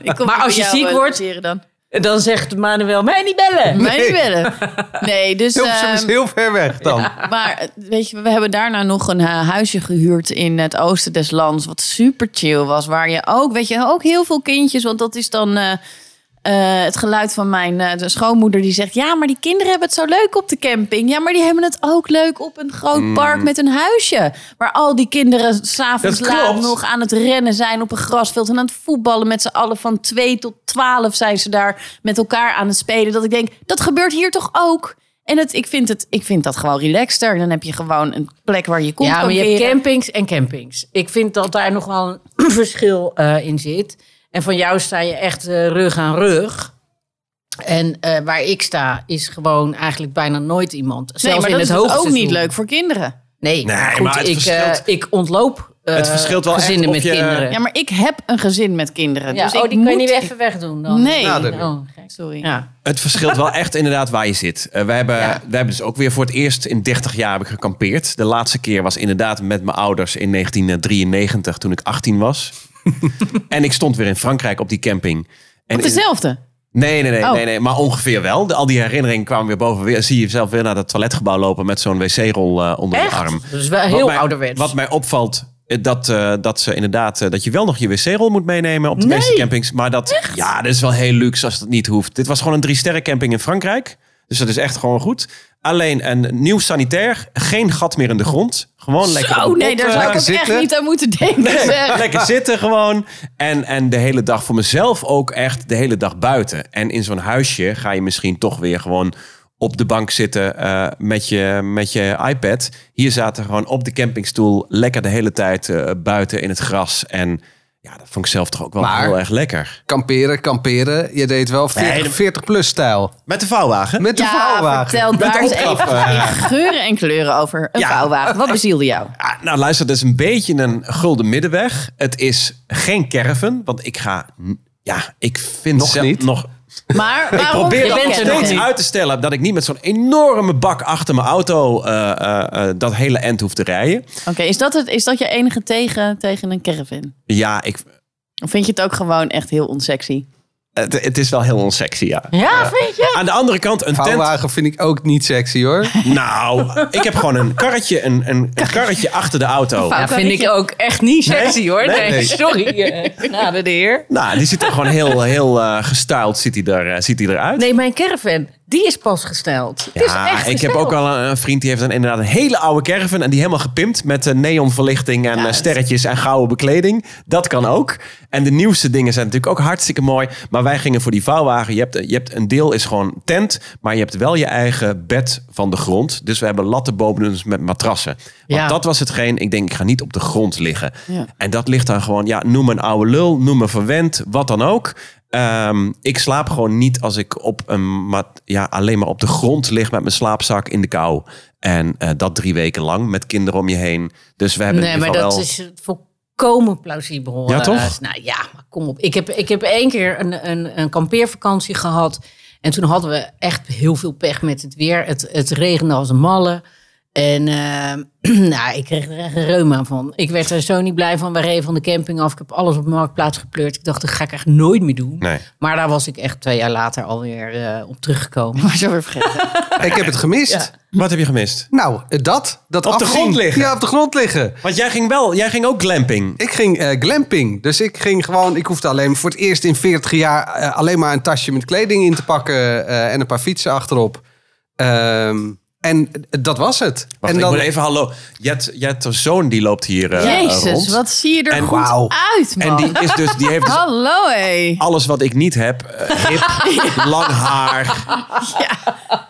Ik kom Maar niet als je jou, ziek eh, wordt- noteren Dan. En dan zegt Manuel, mij niet bellen. Mij niet bellen. Nee, dus... Hilversum is ehm, heel ver weg dan. Maar eh, weet je, we hebben daarna nog een eh, huisje gehuurd in het oosten des lands. Wat super chill was. Waar je ook, weet je, ook heel veel kindjes. Want dat is dan eh, eh, het geluid van mijn eh, de schoonmoeder. Die zegt: Ja, maar die kinderen hebben het zo leuk op de camping. Ja, maar die hebben het ook leuk op een Mm. groot park met een huisje. Waar al die kinderen s'avonds Dat laat klopt. nog aan het rennen zijn op een grasveld. En aan het voetballen met z'n allen van 2 tot 12 zijn ze daar met elkaar aan het spelen. Dat ik denk: Dat gebeurt hier toch ook? En het, ik, vind het, ik vind dat gewoon relaxter. Dan heb je gewoon een plek waar je komt ja, maar je hebt kamperen. campings en campings. Ik vind dat daar nog wel een verschil eh, in zit. En van jou sta je echt eh, rug aan rug. En eh, waar ik sta is gewoon eigenlijk bijna nooit iemand. Zelfs Nee, maar in dat het is dus ook hoogseizoen. niet leuk voor kinderen. Nee, Nee, goed, maar het ik, eh, verschilt- ik ontloop eh, Het verschilt wel echt gezinnen of met je- kinderen. Ja, maar ik heb een gezin met kinderen. Ja, dus oh, ik die moet... kun je niet even wegdoen dan. Nee. Nou, Ja, dat- Oh, gek. Sorry. Ja. Het verschilt wel echt inderdaad waar je zit. Eh, we, hebben, Ja. we hebben dus ook weer voor het eerst in 30 jaar heb ik gekampeerd. De laatste keer was inderdaad met mijn ouders in 1993 toen ik 18 was. en ik stond weer in Frankrijk op die camping. En Op in- dezelfde. Nee, nee, nee, Oh. nee, nee, maar ongeveer wel. De- al die herinneringen kwamen weer boven. Weer, zie je zelf weer naar dat toiletgebouw lopen met zo'n wc-rol eh, onder Echt? de arm. Dat is wel eh, Wat heel mij- ouderwets. Wat mij opvalt, eh, dat, eh, dat ze inderdaad, eh, dat je wel nog je wc-rol moet meenemen op de meeste campings. Maar dat, ja, dat is wel heel luxe als dat niet hoeft. Dit was gewoon een drie-sterren camping in Frankrijk. Dus dat is echt gewoon goed. Alleen een nieuw sanitair, geen gat meer in de grond. Gewoon lekker op Oh een nee, pot, daar eh, zou ik ook lekker echt zitten. niet aan moeten denken. zeg. Lekker zitten gewoon. En, en de hele dag voor mezelf ook echt de hele dag buiten. En in zo'n huisje ga je misschien toch weer gewoon op de bank zitten eh, met, je, met je iPad. Hier zaten gewoon op de campingstoel lekker de hele tijd eh, buiten in het gras. En ja, dat vond ik zelf toch ook wel Maar- heel erg lekker. Kamperen, kamperen. Je deed wel 40, Nee, dat- 40 plus stijl. Met de vouwwagen. Met de Eh, Ja, vouwwagen. vertel daar eens even opklappen. in geuren en kleuren over een eh. Ja. vouwwagen. Wat bezielde jou? Ah, nou, luister, dat is een beetje een gulden middenweg. Het is geen caravan, want ik ga... Ja, ik vind Nog zelf niet. nog Maar waarom Ik probeer geen dat nog caravan? steeds uit te stellen dat ik niet met zo'n enorme bak achter mijn auto eh, eh, eh, dat hele end hoef te rijden. Oké, is, dat het- is dat je enige tegen, tegen een caravan? Ja, ik, Of vind je het ook gewoon echt heel onsexy? het, het is wel heel onsexy, ja. Ja, vind je? Aan de andere kant, een tent. Vouwwagen vind ik ook niet sexy hoor. Nou, ik heb gewoon een karretje, een, een, een karretje achter de auto. Ja, vind ik ook echt niet sexy hoor. Nee? Nee, Nee. sorry. eh, Genade de heer. Nou, die ziet er gewoon heel, heel eh, gestyled ziet hij er, eh, ziet hij eruit. Nee, mijn caravan, die is pas gesteld. Het is echt Ja, ik heb gesteld. ook al een, een vriend die heeft een, inderdaad een hele oude caravan. En die helemaal gepimpt met eh, neonverlichting en eh, sterretjes en gouden bekleding. Dat kan ook. En de nieuwste dingen zijn natuurlijk ook hartstikke mooi. Maar wij gingen voor die vouwwagen. Je hebt, eh, je hebt een deel is gewoon tent. Maar je hebt wel je eigen bed van de grond. Dus we hebben lattenbodems met matrassen. Want Ja. dat was hetgeen. Ik denk, ik ga niet op de grond liggen. Ja. En dat ligt dan gewoon, ja, noem me een oude lul, noem me verwend, wat dan ook. Ehm, ik slaap gewoon niet als ik op een mat, ja, alleen maar op de grond lig met mijn slaapzak in de kou. En eh, dat drie weken lang met kinderen om je heen. Dus we hebben Nee, in maar ieder geval dat wel... is volkomen plausibel. Ja, eh, toch? nou ja, maar kom op. Ik heb, ik heb één keer een, een, een kampeervakantie gehad. En toen hadden we echt heel veel pech met het weer. Het, het regende als een malle. En eh, nou, ik kreeg er echt een reuma van. Ik werd er zo niet blij van. We reden van de camping af. Ik heb alles op de marktplaats gepleurd. Ik dacht, dat ga ik echt nooit meer doen. Nee. Maar daar was ik echt twee jaar later alweer eh, op teruggekomen. Maar zo weer vergeten. Ik heb het gemist. Wat heb je gemist? Nou, dat. dat Op de afzien. grond liggen. Ja, op de grond liggen. Want jij ging wel, jij ging ook glamping. Ik ging eh, glamping. Dus ik ging gewoon, ik hoefde alleen voor het eerst in 40 jaar eh, alleen maar een tasje met kleding in te pakken eh, en een paar fietsen achterop. Ehm, en dat was het. Wacht, en dan, ik moet even hallo. Jet, Jet, zoon die loopt hier eh, rond. Jezus, wat zie je er En goed wauw. uit, man. En die, is dus, die heeft dus Hallo, hé. alles wat ik niet heb. eh, hip, lang haar.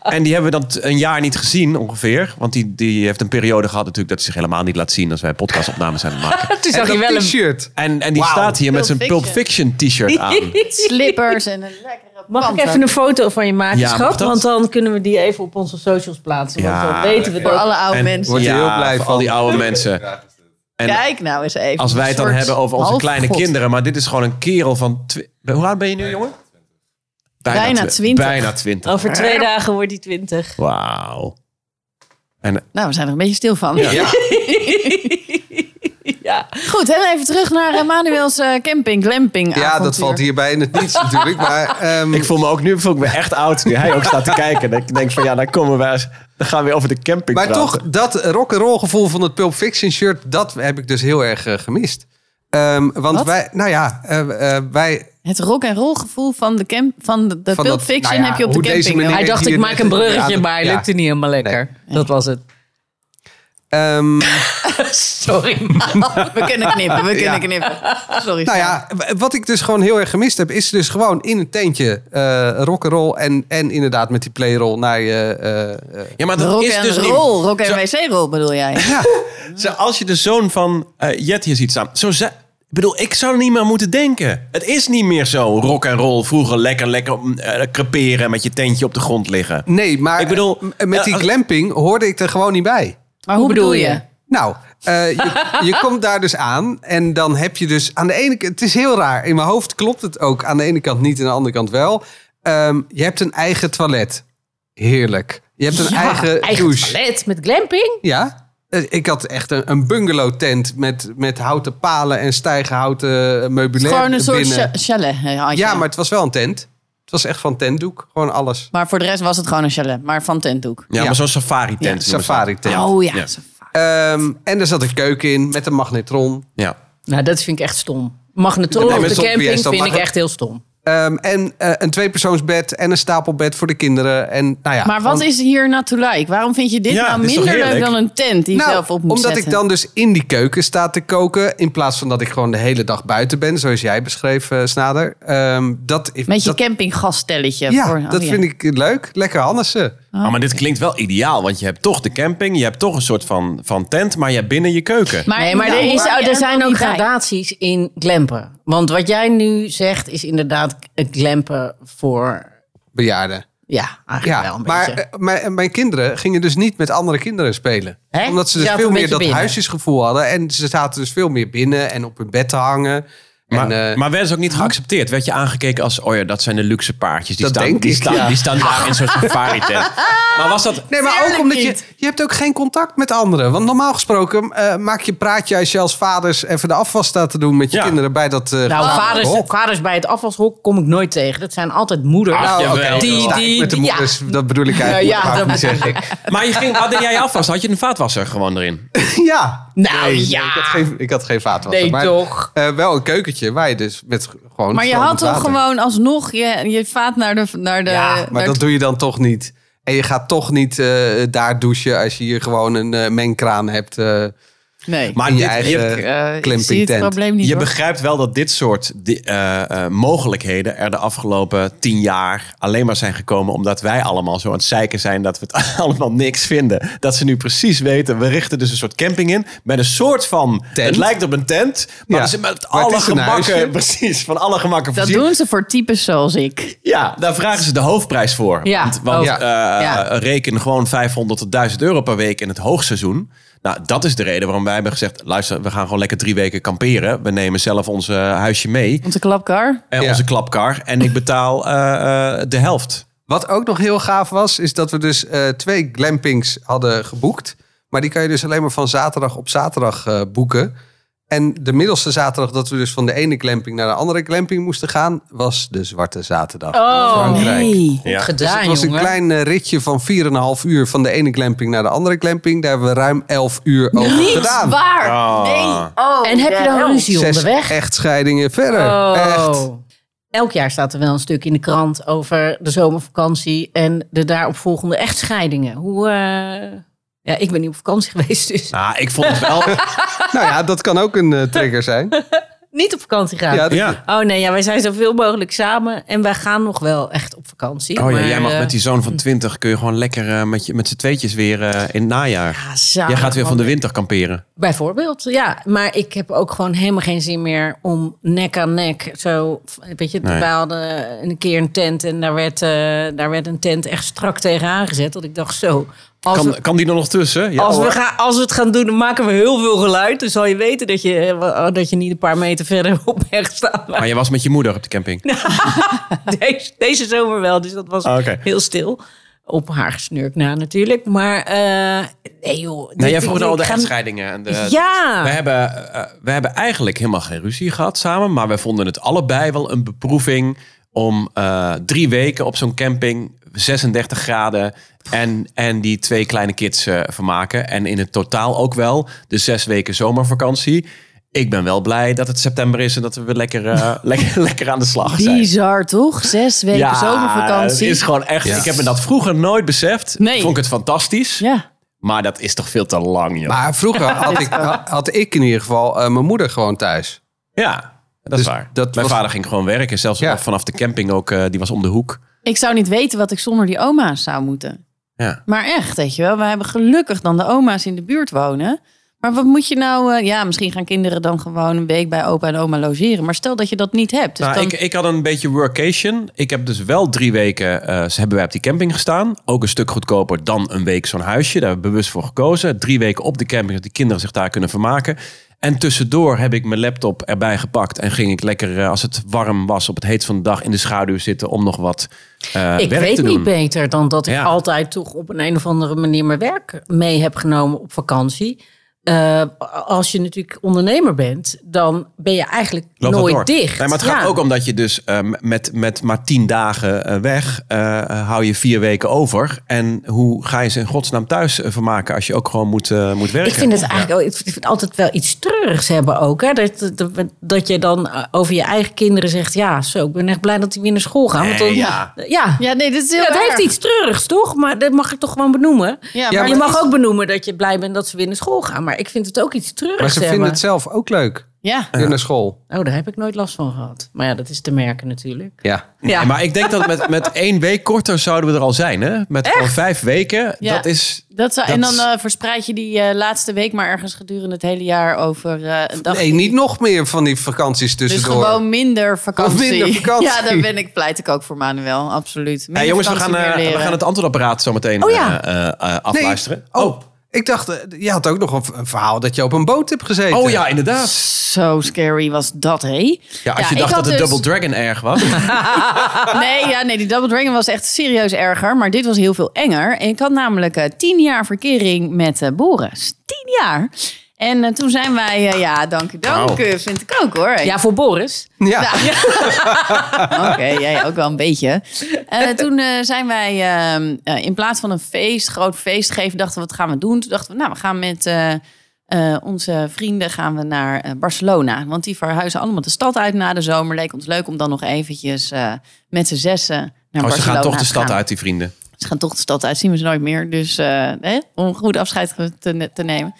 En die hebben we dan t- een jaar niet gezien ongeveer. Want die, die heeft een periode gehad natuurlijk dat hij zich helemaal niet laat zien als wij podcastopnames aan het maken. Toen en zag je wel dat een t-shirt. En, en die Wauw. staat hier met zijn Pulp Pulp Fiction t-shirt aan. Slippers en een lekkere Mag ik even een foto van je maken, Ja, mag schat? dat? Want dan kunnen we die even op onze socials plaatsen. Want Ja, dan weten we Voor dat. alle oude En- mensen. Word je ja, heel blij voor van. al die oude mensen. En Kijk nou eens even. als wij het dan Een soort hebben over onze half kleine Oh, god. kinderen. Maar dit is gewoon een kerel van... twi- Hoe oud ben je nu, jongen? Bijna Oh. twi- 20. Bijna twintig. Over twee dagen wordt die twintig. Wauw. En Nou, we zijn er een beetje stil van. Ja. Ja. Goed, goed, hè? even terug naar eh, Manuels eh, camping, glamping Ja, dat valt hierbij in het niets natuurlijk. Maar ehm, Ik voel me ook nu voel ik me echt oud. Nu hij ook staat te kijken. Dan denk ik van ja, dan komen we eens- dan gaan we weer over de camping Maar praten. toch, dat rock'n'roll gevoel van het Pulp Fiction shirt, dat heb ik dus heel erg eh, gemist. Ehm, want Wat? wij, nou ja, eh, eh, wij. Het rock en roll gevoel van de, camp, van de, de Van Pulp dat- Fiction nou ja, heb je op de hoe deze camping. meneer- hoor. Hij dacht, ik maak een bruggetje, maar hij Ja. lukte niet helemaal lekker. Dat was het. ehm, Sorry. We kunnen knippen, we kunnen Ja. knippen. Sorry. nou ja, w- wat ik dus gewoon heel erg gemist heb, is dus gewoon in een tentje eh rock'n'roll en, en inderdaad met die playroll naar je. eh, eh, Ja, maar dat Rock is en dus niet- roll, rock en Zo- wc-roll bedoel jij? Zo, als je de zoon van eh, Jet hier ziet staan. Zo ze- ik bedoel, ik zou er niet meer aan moeten denken. Het is niet meer zo rock en roll. Vroeger lekker, lekker mm, eh, creperen en met je tentje op de grond liggen. nee, maar Ik bedoel, eh, met die eh, als- glamping hoorde ik er gewoon niet bij. Maar hoe bedoel je? Nou, eh, je, je komt daar dus aan en dan heb je dus aan de ene kant, het is heel raar, in mijn hoofd klopt het ook, aan de ene kant niet en aan de andere kant wel. Ehm, je hebt een eigen toilet. Heerlijk. Je hebt een eigen, douche. toilet met glamping. Ja. Eh, Ik had echt een, een bungalow tent met, met houten palen en stijgenhouten meubilair Gewoon een soort binnen. cha- chalet. hè, had je. Ja, maar het was wel een tent. Het was echt van tentdoek, gewoon alles. Maar voor de rest was het gewoon een chalet, maar van tentdoek. Ja, Ja. maar zo'n safari tent. noemen ze dat. Safari tent. Ehm, Oh ja. Ja. en er zat een keuken in met een magnetron. Ja. Nou, dat vind ik echt stom. Magnetron Nee, op maar de soms ben jij camping stom, vind ik maar- echt heel stom. Ehm, en eh, een tweepersoonsbed en een stapelbed voor de kinderen. En, nou ja, Maar wat gewoon- is hier nou to like? Waarom vind je dit Ja, nou dit is toch minder leuk heerlijk? dan een tent die je Nou, zelf op moet Omdat zetten? ik dan dus in die keuken sta te koken. In plaats van dat ik gewoon de hele dag buiten ben. Zoals jij beschreef, eh, Snader. Ehm, dat, Met je dat, campinggastelletje. Ja, voor, oh dat ja. vind ik leuk. Lekker Hannessen. Oh, Ah, maar dit klinkt wel ideaal, want je hebt toch de camping, je hebt toch een soort van, van tent, maar je hebt binnen je keuken. Maar, Nee, maar nou, er, is, oh, waar je er zijn nog ook niet bij. gradaties in glampen. Want wat jij nu zegt is inderdaad het glampen voor... Bejaarden. Ja, eigenlijk Ja, wel een maar beetje. eh, mijn, mijn kinderen gingen dus niet met andere kinderen spelen. Hè? Omdat ze dus Zaten veel een meer beetje dat binnen. huisjesgevoel hadden. En ze zaten dus veel meer binnen en op hun bed te hangen. Maar, en, eh, maar werden ze ook niet geaccepteerd? Werd je aangekeken als, oh ja, dat zijn de luxe paardjes. Die Dat staan, denk die ik, staan, ja. die staan daar in zo'n safari tent. Maar was dat... Nee, maar ook omdat je, je hebt ook geen contact met anderen. Want normaal gesproken eh, maak je praatje als je als vaders even de afwas staat te doen met je Ja. kinderen bij dat. eh, Nou, gezamenlijke vaders, hok. vaders bij het afvalshok kom ik nooit tegen. Dat zijn altijd moeders. Ah, Nou, jawel. oké, Die- dan sta ik die- met de die- ja. moeders, dat bedoel ik eigenlijk. Ja, ja, dat dat niet zeg ik. Maar je ging, wat deed jij afwas? Had je een vaatwasser gewoon erin? Ja. Nou Nee, ja. Ik had geen, ik had geen vaatwasser. Nee, maar, toch. eh, wel een keukentje waar je dus met gewoon. Maar je stromend had toch water- gewoon alsnog je, je vaat naar de... Naar de Ja, Ah, maar naar dat het- doe je dan toch niet. En je gaat toch niet eh, daar douchen als je hier gewoon een eh, mengkraan hebt. eh Nee, Maar in je dit- eigen je, Eh, ik clamping zie het tent. probleem niet. je hoor. begrijpt wel dat dit soort di- eh, eh, mogelijkheden er de afgelopen tien jaar alleen maar zijn gekomen omdat wij allemaal zo aan het zeiken zijn dat we het allemaal niks vinden. Dat ze nu precies weten, we richten dus een soort camping in met een soort van, Tent. het lijkt op een tent, maar Ja, dus met maar het alle is een huisje. gemakken, precies, van alle gemakken dat voorzien. doen ze voor types zoals ik. Ja, daar vragen ze de hoofdprijs voor. Ja, Want, want ook. eh, reken gewoon 500 tot 1000 euro per week in het hoogseizoen. Nou, dat is de reden waarom wij hebben gezegd... luister, we gaan gewoon lekker drie weken kamperen. We nemen zelf ons eh, huisje mee, Onze klapkar. en Ja. onze klapkar. En ik betaal eh, eh, de helft. Wat ook nog heel gaaf was, is dat we dus eh, twee glampings hadden geboekt. Maar die kan je dus alleen maar van zaterdag op zaterdag eh, boeken. En de middelste zaterdag dat we dus van de ene glamping naar de andere glamping moesten gaan, was de Zwarte Zaterdag. Oh, Frankrijk. nee. Ja. Goed Dus gedaan, het was een jongen. klein eh, ritje van 4,5 uur van de ene glamping naar de andere glamping. Daar hebben we ruim 11 uur over gedaan. waar. Ah. En heb je dan ruzie Zes onderweg? echtscheidingen verder. Oh. Oh. Echt. Elk jaar staat er wel een stuk in de krant over de zomervakantie en de daaropvolgende echtscheidingen. Hoe, eh, Ja, ik ben niet op vakantie geweest, dus Nou, ik vond het wel... Nou ja, dat kan ook een eh, trigger zijn. niet op vakantie gaan. Ja, dat- ja. Oh nee, ja, wij zijn zoveel mogelijk samen en wij gaan nog wel echt op vakantie. Oh ja, maar, jij eh, mag met die zoon van 20... kun je gewoon lekker eh, met, je, met z'n tweetjes weer eh, in het najaar. ja, samen, Jij gaat weer van man. de winter kamperen. Bijvoorbeeld, ja. Maar ik heb ook gewoon helemaal geen zin meer om nek aan nek zo... Weet je, Nee. wij hadden een keer een tent en daar werd, eh, daar werd een tent echt strak tegenaan gezet. Dat ik dacht zo, als, Kan, we, kan die er nog tussen? Ja, als, hoor. we gaan, als we het gaan doen, dan maken we heel veel geluid. Dus zal je weten dat je, eh, wel- dat je niet een paar meter verder op weg staat. Maar Maar je was met je moeder op de camping. deze, deze zomer wel, dus dat was Ah, oké. heel stil. op haar gesnurk na natuurlijk. Maar eh nee joh. dit- Nee, Nou, jij dit- vroeg al ik de ga- echtscheidingen. En de, Ja. Ah. We hebben, eh, we hebben eigenlijk helemaal geen ruzie gehad samen. Maar wij vonden het allebei wel een beproeving om eh, drie weken op zo'n camping, 36 graden. En, en die twee kleine kids eh, vermaken. En in het totaal ook wel de zes weken zomervakantie. Ik ben wel blij dat het september is en dat we weer lekker, eh, lekker, lekker aan de slag zijn. Bizar, toch? Zes weken zomervakantie. Het is gewoon echt. Ja. Ik heb me dat vroeger nooit beseft. Nee. Vond ik het fantastisch. Ja. Maar dat is toch veel te lang, joh. Maar vroeger had ik, had ik in ieder geval eh, mijn moeder gewoon thuis. Ja, dat is Dus waar. dat Mijn was- vader ging gewoon werken. Zelfs Ja. vanaf de camping ook, eh, die was om de hoek. Ik zou niet weten wat ik zonder die oma's zou moeten. Ja. Maar echt, weet je wel. We hebben gelukkig dan de oma's in de buurt wonen. Maar wat moet je nou... eh, ja, misschien gaan kinderen dan gewoon een week bij opa en oma logeren. Maar stel dat je dat niet hebt. Dus nou, dan... ik, ik had een beetje workation. Ik heb dus wel drie weken, eh, ze hebben wij op die camping gestaan. Ook een stuk goedkoper dan een week zo'n huisje. Daar hebben we bewust voor gekozen. Drie weken op de camping, dat die kinderen zich daar kunnen vermaken. En tussendoor heb ik mijn laptop erbij gepakt. En ging ik lekker, eh, als het warm was, op het heet van de dag in de schaduw zitten. Om nog wat eh Ik werk weet te niet doen. beter dan dat ik Ja. altijd toch op een, een of andere manier mijn werk mee heb genomen op vakantie. Eh, als je natuurlijk ondernemer bent, dan ben je eigenlijk Loopt dat nooit door? dicht. Nee, maar het gaat Ja. ook omdat je dus eh, met, met maar tien dagen eh, weg, eh, eh, hou je vier weken over. En hoe ga je ze in godsnaam thuis eh, vermaken als je ook gewoon moet, eh, moet werken? Ik vind het eigenlijk ook, ik vind het altijd wel iets treurigs hebben ook. Hè? Dat, dat, dat je dan eh, over je eigen kinderen zegt, ja, zo, ik ben echt blij dat die weer naar school gaan. Want dan, eh, Nee, ja. ja. Ja, nee, dit is heel Ja, dat erg. heeft iets treurigs, toch? Maar dat mag ik toch gewoon benoemen. Ja, Ja, maar je dat mag is- ook benoemen dat je blij bent dat ze weer naar school gaan. Maar ik vind het ook iets treurigs Maar ze hebben. vinden het zelf ook leuk. Ja. Weer naar school. Oh, daar heb ik nooit last van gehad. Maar ja, dat is te merken natuurlijk. Ja. Nee, Ja. Maar ik denk dat met, met één week korter zouden we er al zijn. Hè? Met gewoon vijf weken. Ja. Dat is... Dat zou, En Dat- dan eh, verspreid je die eh, laatste week maar ergens gedurende het hele jaar over eh, een dag. Nee, niet nog meer van die vakanties dus tussendoor. gewoon minder vakantie. Minder vakantie. Ja, daar ben ik, pleit ik ook voor Manuel, absoluut. Minder Hey, jongens, we gaan, vakantie, meer eh, we leren. gaan het antwoordapparaat zo meteen Oh, ja. eh, eh, eh, afluisteren. Nee. Oh. Oh, ik dacht, eh, je had ook nog een v- een verhaal dat je op een boot hebt gezeten. oh ja, inderdaad. Zo scary was dat, hé? Ja, als Ja, je ik dacht dat had de dus- Double Dragon erg was. Oh, Nee, ja, nee, die Double Dragon was echt serieus erger. Maar dit was heel veel enger. En ik had namelijk eh, tien jaar verkering met eh, Boris. Tien jaar. En eh, toen zijn wij... eh, ja, dank u, dank u. Vind ik ook, hoor. Ja, voor Boris. Ja. Oké, jij ook wel een beetje. Eh, toen eh, zijn wij ehm, eh, in plaats van een feest, groot feest geven, dachten we wat gaan we doen? Toen dachten we, nou, we gaan met eh, eh, onze vrienden gaan we naar eh, Barcelona. Want die verhuizen allemaal de stad uit na de zomer. Leek ons leuk om dan nog eventjes eh, met z'n zessen naar Oh, Barcelona ze gaan toch de te stad gaan. uit, die vrienden. Ze gaan toch de stad uit, zien we ze nooit meer. Dus eh, hè, om een goed afscheid te, te nemen.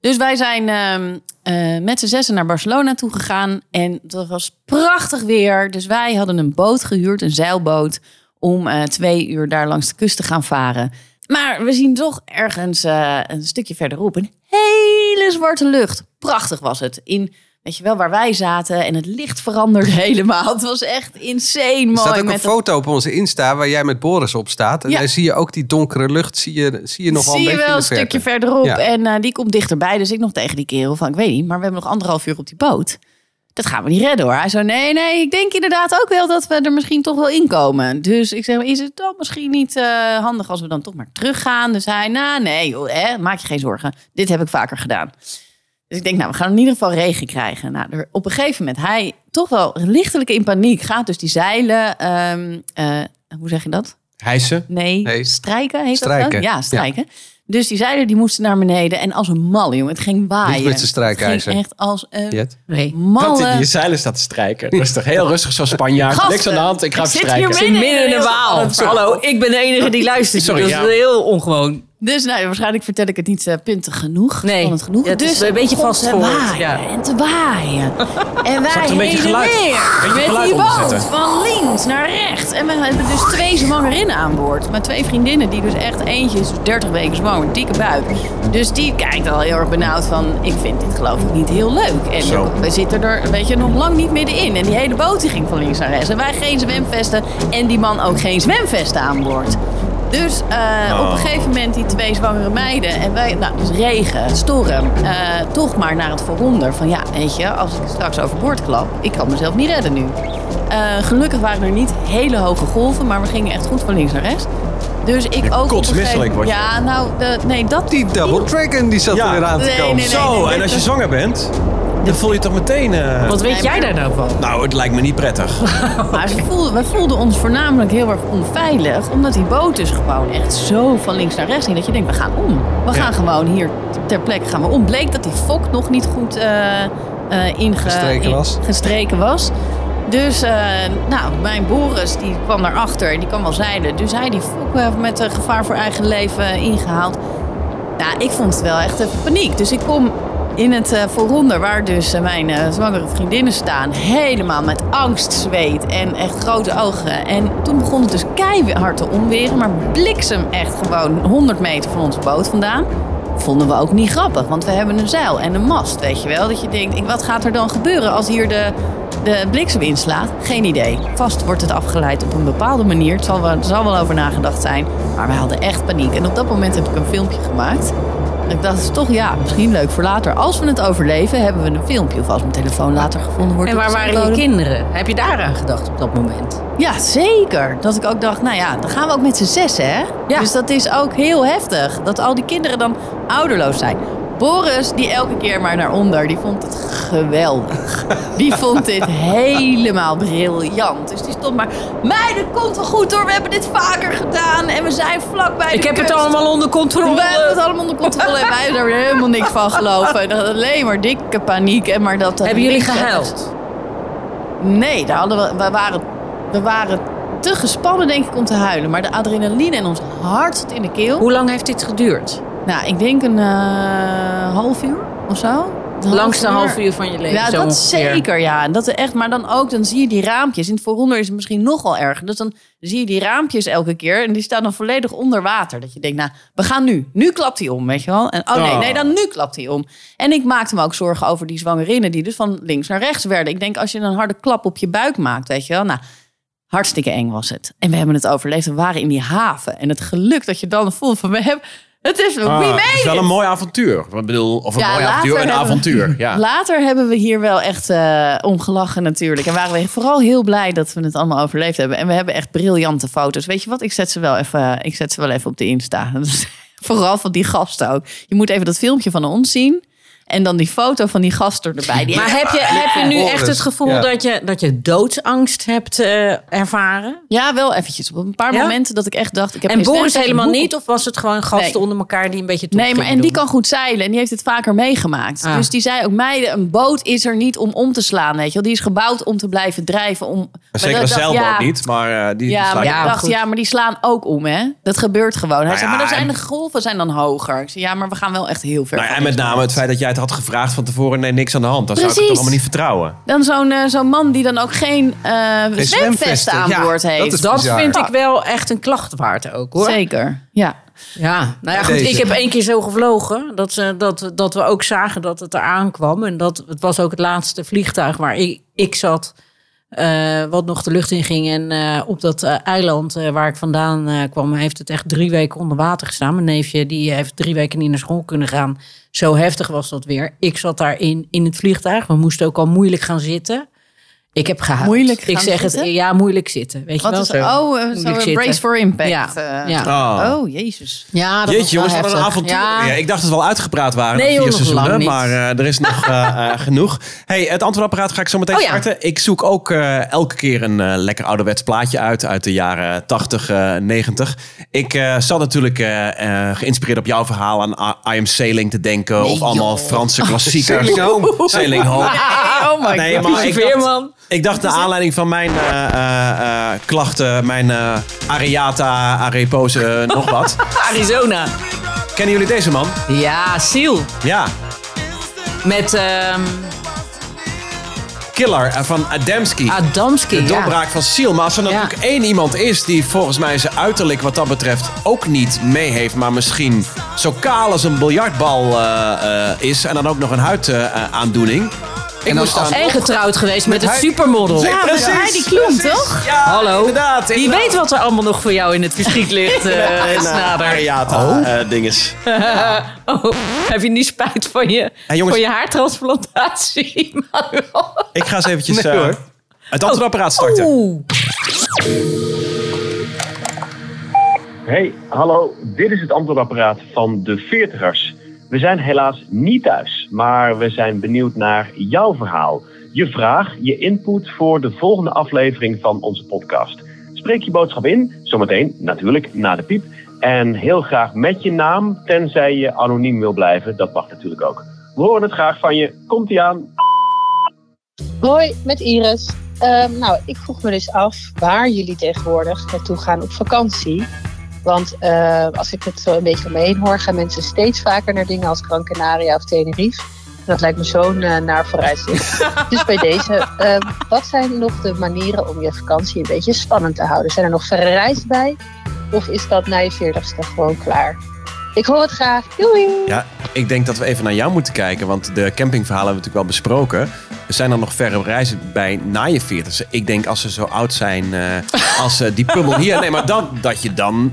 Dus wij zijn ehm, eh, met z'n zessen naar Barcelona toe gegaan. En dat was prachtig weer. Dus wij hadden een boot gehuurd, een zeilboot. Om eh, twee uur daar langs de kust te gaan varen. Maar we zien toch ergens eh, een stukje verderop een hele zwarte lucht. Prachtig was het. In, weet je wel, waar wij zaten. En het licht veranderde helemaal. Het was echt insane Er mooi. staat ook een met dat- foto op onze Insta waar jij met Boris op staat. En Ja. daar zie je ook die donkere lucht, zie je, zie je nog wel een zie je beetje wel in een de verte. stukje verderop. Ja. En eh, die komt dichterbij. Dus ik nog tegen die kerel van, ik weet niet, maar we hebben nog anderhalf uur op die boot. Dat gaan we niet redden hoor. Hij zo, nee, nee, ik denk inderdaad ook wel dat we er misschien toch wel in komen. Dus ik zeg, is het dan misschien niet eh, handig als we dan toch maar teruggaan? Dus hij, nou nee, joh, hè, maak je geen zorgen. Dit heb ik vaker gedaan. Dus ik denk, nou, we gaan in ieder geval regen krijgen. Nou, er- op een gegeven moment, hij toch wel lichtelijk in paniek gaat. Dus die zeilen, ehm, eh, hoe zeg je dat? Hijsen. Nee, Nee. strijken heet dat Strijken. ook? Ja, strijken. Dus die zeilen die moesten naar beneden. En als een malle, jongen. Het ging waaien. Niet met z'n Het strijkijzer. ging echt als een Jet. Nee. Dat in je malle... zeilen staat te strijken. Rustig, heel rustig, zo'n Spanjaard. Gasten, Niks aan de hand, ik ga ik even zit hier strijken. midden in een heel spannend verhaal. Hallo, ik ben de enige die luistert. Sorry, dus ja. dat is heel ongewoon. Dus nou, waarschijnlijk vertel ik het niet eh, puntig genoeg. Nee. Spannend genoeg. Ja, het is dus een beetje begon te vastgehoord, waaien ja. En te waaien. En wij er een beetje heen en geluid- weer. beetje Met geluid die onder boot. zetten? Van links naar rechts. En we hebben dus twee zwangerinnen aan boord. Maar twee vriendinnen die dus echt... Eentje is dus 30 weken zwanger. Dikke buik. Dus die kijkt al heel erg benauwd van... Ik vind dit geloof ik niet heel leuk. En Zo. we zitten er weet je, nog lang niet middenin. En die hele boot die ging van links naar rechts. En wij geen zwemvesten. En die man ook geen zwemvesten aan boord. Dus eh, Oh. op een gegeven moment die twee zwangere meiden. En wij, nou, dus regen, storm. eh, toch maar naar het vooronder. Van ja, weet je, als ik straks overboord klap, ik kan mezelf niet redden nu. Eh, gelukkig waren er niet hele hoge golven, maar we gingen echt goed van links naar rechts. Dus ik Je ook. op een kotsmisselijk gegeven- word je. Ja, nou, de- nee, dat Die double dragon die zat Ja. er weer aan te Nee, komen. nee, nee. Zo, en als je zwanger bent, dan voel je toch meteen... eh, Wat weet Nee, jij maar- daar nou van? Nou, het lijkt me niet prettig. Maar ze voelden, we voelden ons voornamelijk heel erg onveilig. Omdat die boot dus gewoon echt zo van links naar rechts ging. Dat je denkt, we gaan om. We gaan gewoon hier ter plekke gaan we om. Bleek dat die fok nog niet goed eh, eh, inge- Gestreken was. gestreken was. Dus, eh, nou, mijn Boris die kwam daarachter en die kwam al zeilen. Dus hij die fok eh, met eh, gevaar voor eigen leven eh, ingehaald. Nou, ik vond het wel echt even paniek. Dus ik kom in het eh, vooronder, waar dus eh, mijn eh, zwangere vriendinnen staan, helemaal met angst, zweet en echt grote ogen. En toen begon het dus keihard te onweren, maar bliksem echt gewoon 100 meter van onze boot vandaan. Vonden we ook niet grappig, want we hebben een zeil en een mast, weet je wel. Dat je denkt, ik- wat gaat er dan gebeuren als hier de, de bliksem inslaat? Geen idee. Vast wordt het afgeleid op een bepaalde manier. Het zal wel, er zal wel over nagedacht zijn, maar we hadden echt paniek. En op dat moment heb ik een filmpje gemaakt. Ik dacht dus toch, ja, misschien leuk voor later. Als we het overleven, hebben we een filmpje. Of als mijn telefoon later gevonden wordt. En op waar de waren je zandbodem. kinderen? Heb je daaraan gedacht op dat moment? Ja, zeker. Dat ik ook dacht, nou ja, dan gaan we ook met z'n zessen, hè? Ja. Dus dat is ook heel heftig. Dat al die kinderen dan ouderloos zijn. Boris, die elke keer maar naar onder, die vond het geweldig. Die vond dit helemaal briljant. Dus die stond maar, meiden, komt wel goed hoor, we hebben dit vaker gedaan. En we zijn vlakbij de Ik heb het kust." allemaal onder controle. Wij hebben het allemaal onder controle en wij hebben daar weer helemaal niks van gelopen. Dat- Alleen maar dikke paniek. En maar dat, dat Hebben jullie links- gehuild? Nee, daar hadden we, we, waren, we waren te gespannen denk ik om te huilen. Maar de adrenaline en ons hart zat in de keel. Hoe lang heeft dit geduurd? Nou, ik denk een eh, half uur of zo. Een half Langste half uur van je leven. Ja, zo dat ongeveer. zeker, ja. Dat er echt, maar dan ook, dan zie je die raampjes. In het vooronder is het misschien nogal erger. Dus dan zie je die raampjes elke keer. En die staan dan volledig onder water. Dat je denkt, nou, we gaan nu. Nu klapt hij om, weet je wel. En oh nee, Oh. nee, dan nu klapt hij om. En ik maakte me ook zorgen over die zwangerinnen... die dus van links naar rechts werden. Ik denk, als je een harde klap op je buik maakt, weet je wel... Nou, Hartstikke eng was het. En we hebben het overleefd. We waren in die haven. En het geluk dat je dan voelt van... We hebben, het is, we Ah, made het is wel it. een mooi avontuur. Ik bedoel, of een Ja, mooi later avontuur, een hebben we- avontuur. Ja. Later hebben we hier wel echt eh, om gelachen natuurlijk. En waren we vooral heel blij dat we het allemaal overleefd hebben. En we hebben echt briljante foto's. Weet je wat? Ik zet ze wel even, ik zet ze wel even op de Insta. Dat is Vooral van die gasten ook. Je moet even dat filmpje van ons zien. En dan die foto van die gast er- erbij. Die Maar heb je, heb je nu Boris, echt het gevoel ja. dat, je, dat je doodsangst hebt eh, ervaren? Ja, wel eventjes. Op een paar Ja? momenten dat ik echt dacht... Ik heb en geen Boris stem, ik heb helemaal een boek niet? Of was het gewoon gasten Nee. onder elkaar die een beetje toe Nee, maar en die kan goed zeilen en die heeft het vaker meegemaakt. Ah. Dus die zei ook, meiden, een boot is er niet om om te slaan, weet je wel. Die is gebouwd om te blijven drijven. Om... Maar Een Zeker dat- een dat- zeilboot ja, niet, maar eh, die, die Ja, slaat maar je- ja, ik dacht, goed. ja, maar die slaan ook om, hè? Dat gebeurt gewoon. Hij Nou zei, maar dan ja, zijn en- de golven zijn dan hoger. Ik zei, ja, maar we gaan wel echt heel ver. Nou ja, van en met deze name boot. het feit dat jij het had gevraagd van tevoren. Nee, niks aan de hand. Dan zou ik het Precies. toch allemaal niet vertrouwen. Dan zo'n eh, zo'n man die dan ook geen, eh zwemvesten zwemvesten. aan Ja, boord heeft. dat is Dat bizar. vind ik wel echt een klacht waard ook hoor. Zeker, ja. Ja, nou ja, goed. Deze. Ik heb één keer zo gevlogen dat, ze, dat, dat we ook zagen dat het eraan kwam. En dat het was ook het laatste vliegtuig waar ik, ik zat, eh, wat nog de lucht in ging. En eh, op dat eh, eiland eh, waar ik vandaan eh, kwam, heeft het echt drie weken onder water gestaan. Mijn neefje die heeft drie weken niet naar school kunnen gaan. Zo heftig was dat weer. Ik zat daarin in het vliegtuig. We moesten ook al moeilijk gaan zitten. Ik heb gehuild. Moeilijk ik gaan zeg zitten? het, ja, moeilijk zitten. Weet je Wat wel is Oh, eh, Moeilijk zo'n zitten. brace for impact. Ja, eh. ja. Oh. Oh, jezus. ja Ah, dat was Jeetje jongens, wel wat een heftig. avontuur. Ja. Ja, ik dacht dat we al uitgepraat waren Nee, na joh, nog vier lang seizoenen, niet. maar eh, er is nog eh, eh, genoeg. Hey, het antwoordapparaat ga ik zo meteen Oh ja. starten. Ik zoek ook eh, elke keer een eh, lekker ouderwets plaatje uit uit de jaren 80, eh 90. Ik eh, zat natuurlijk eh, eh, geïnspireerd op jouw verhaal aan ah, I, I Am Sailing te denken. of allemaal Franse klassiekers. Sailing Home. Sailing Home. oh my Nee, god. maar ik dacht, Veerman. ik dacht naar aanleiding van mijn eh, eh, eh, klachten, mijn eh, Ariata, Arepose, eh, nog wat. Arizona. Kennen jullie deze man? Ja, Seal. Ja, Met ehm Killer eh, van Adamski. Adamski. de ja. doorbraak van Seal. Maar als er Ja. natuurlijk één iemand is die volgens mij zijn uiterlijk wat dat betreft ook niet mee heeft. Maar misschien zo kaal als een biljartbal eh, eh, is. En dan ook nog een huidaandoening. ik dan moest als- aan... En getrouwd geweest met, hij- het supermodel. Nee, Ja, precies, met Heidi Klum, precies. toch? Ja, Hallo. inderdaad. Die inderdaad. weet wat er allemaal nog voor jou in het verschiet ligt, nou, eh, Snader. Ariata eh, dinges. Oh, heb je niet spijt van je, Hey, jongens. van je haartransplantatie? Manuel? Ik ga eens eventjes Nee, eh, hoor. Oh. het antwoordapparaat starten. Oeh. Hey, hallo. Dit is het antwoordapparaat van de Veertigers. We zijn helaas niet thuis, maar we zijn benieuwd naar jouw verhaal. Je vraag, je input voor de volgende aflevering van onze podcast. Spreek je boodschap in, zometeen natuurlijk na de piep. En heel graag met je naam, tenzij je anoniem wil blijven. Dat mag natuurlijk ook. We horen het graag van je. Komt-ie aan. Hoi, met Iris. Ehm, nou, ik vroeg me dus af waar jullie tegenwoordig naartoe gaan op vakantie. Want eh, als ik het zo een beetje omheen hoor, gaan mensen steeds vaker naar dingen als Gran Canaria of Tenerife. En Dat lijkt me zo'n eh, naar vooruitzicht. dus bij deze, ehm, wat zijn nog de manieren om je vakantie een beetje spannend te houden? Zijn er nog verreis bij? Of is dat na je veertigste gewoon klaar? Ik hoor het graag. Doei! Ja, ik denk dat we even naar jou moeten kijken, want de campingverhalen hebben we natuurlijk wel besproken. Zijn er nog verre reizen bij na je veertigste? Ik denk als ze zo oud zijn eh, als eh, die pummel hier. Nee, maar dan, dat je dan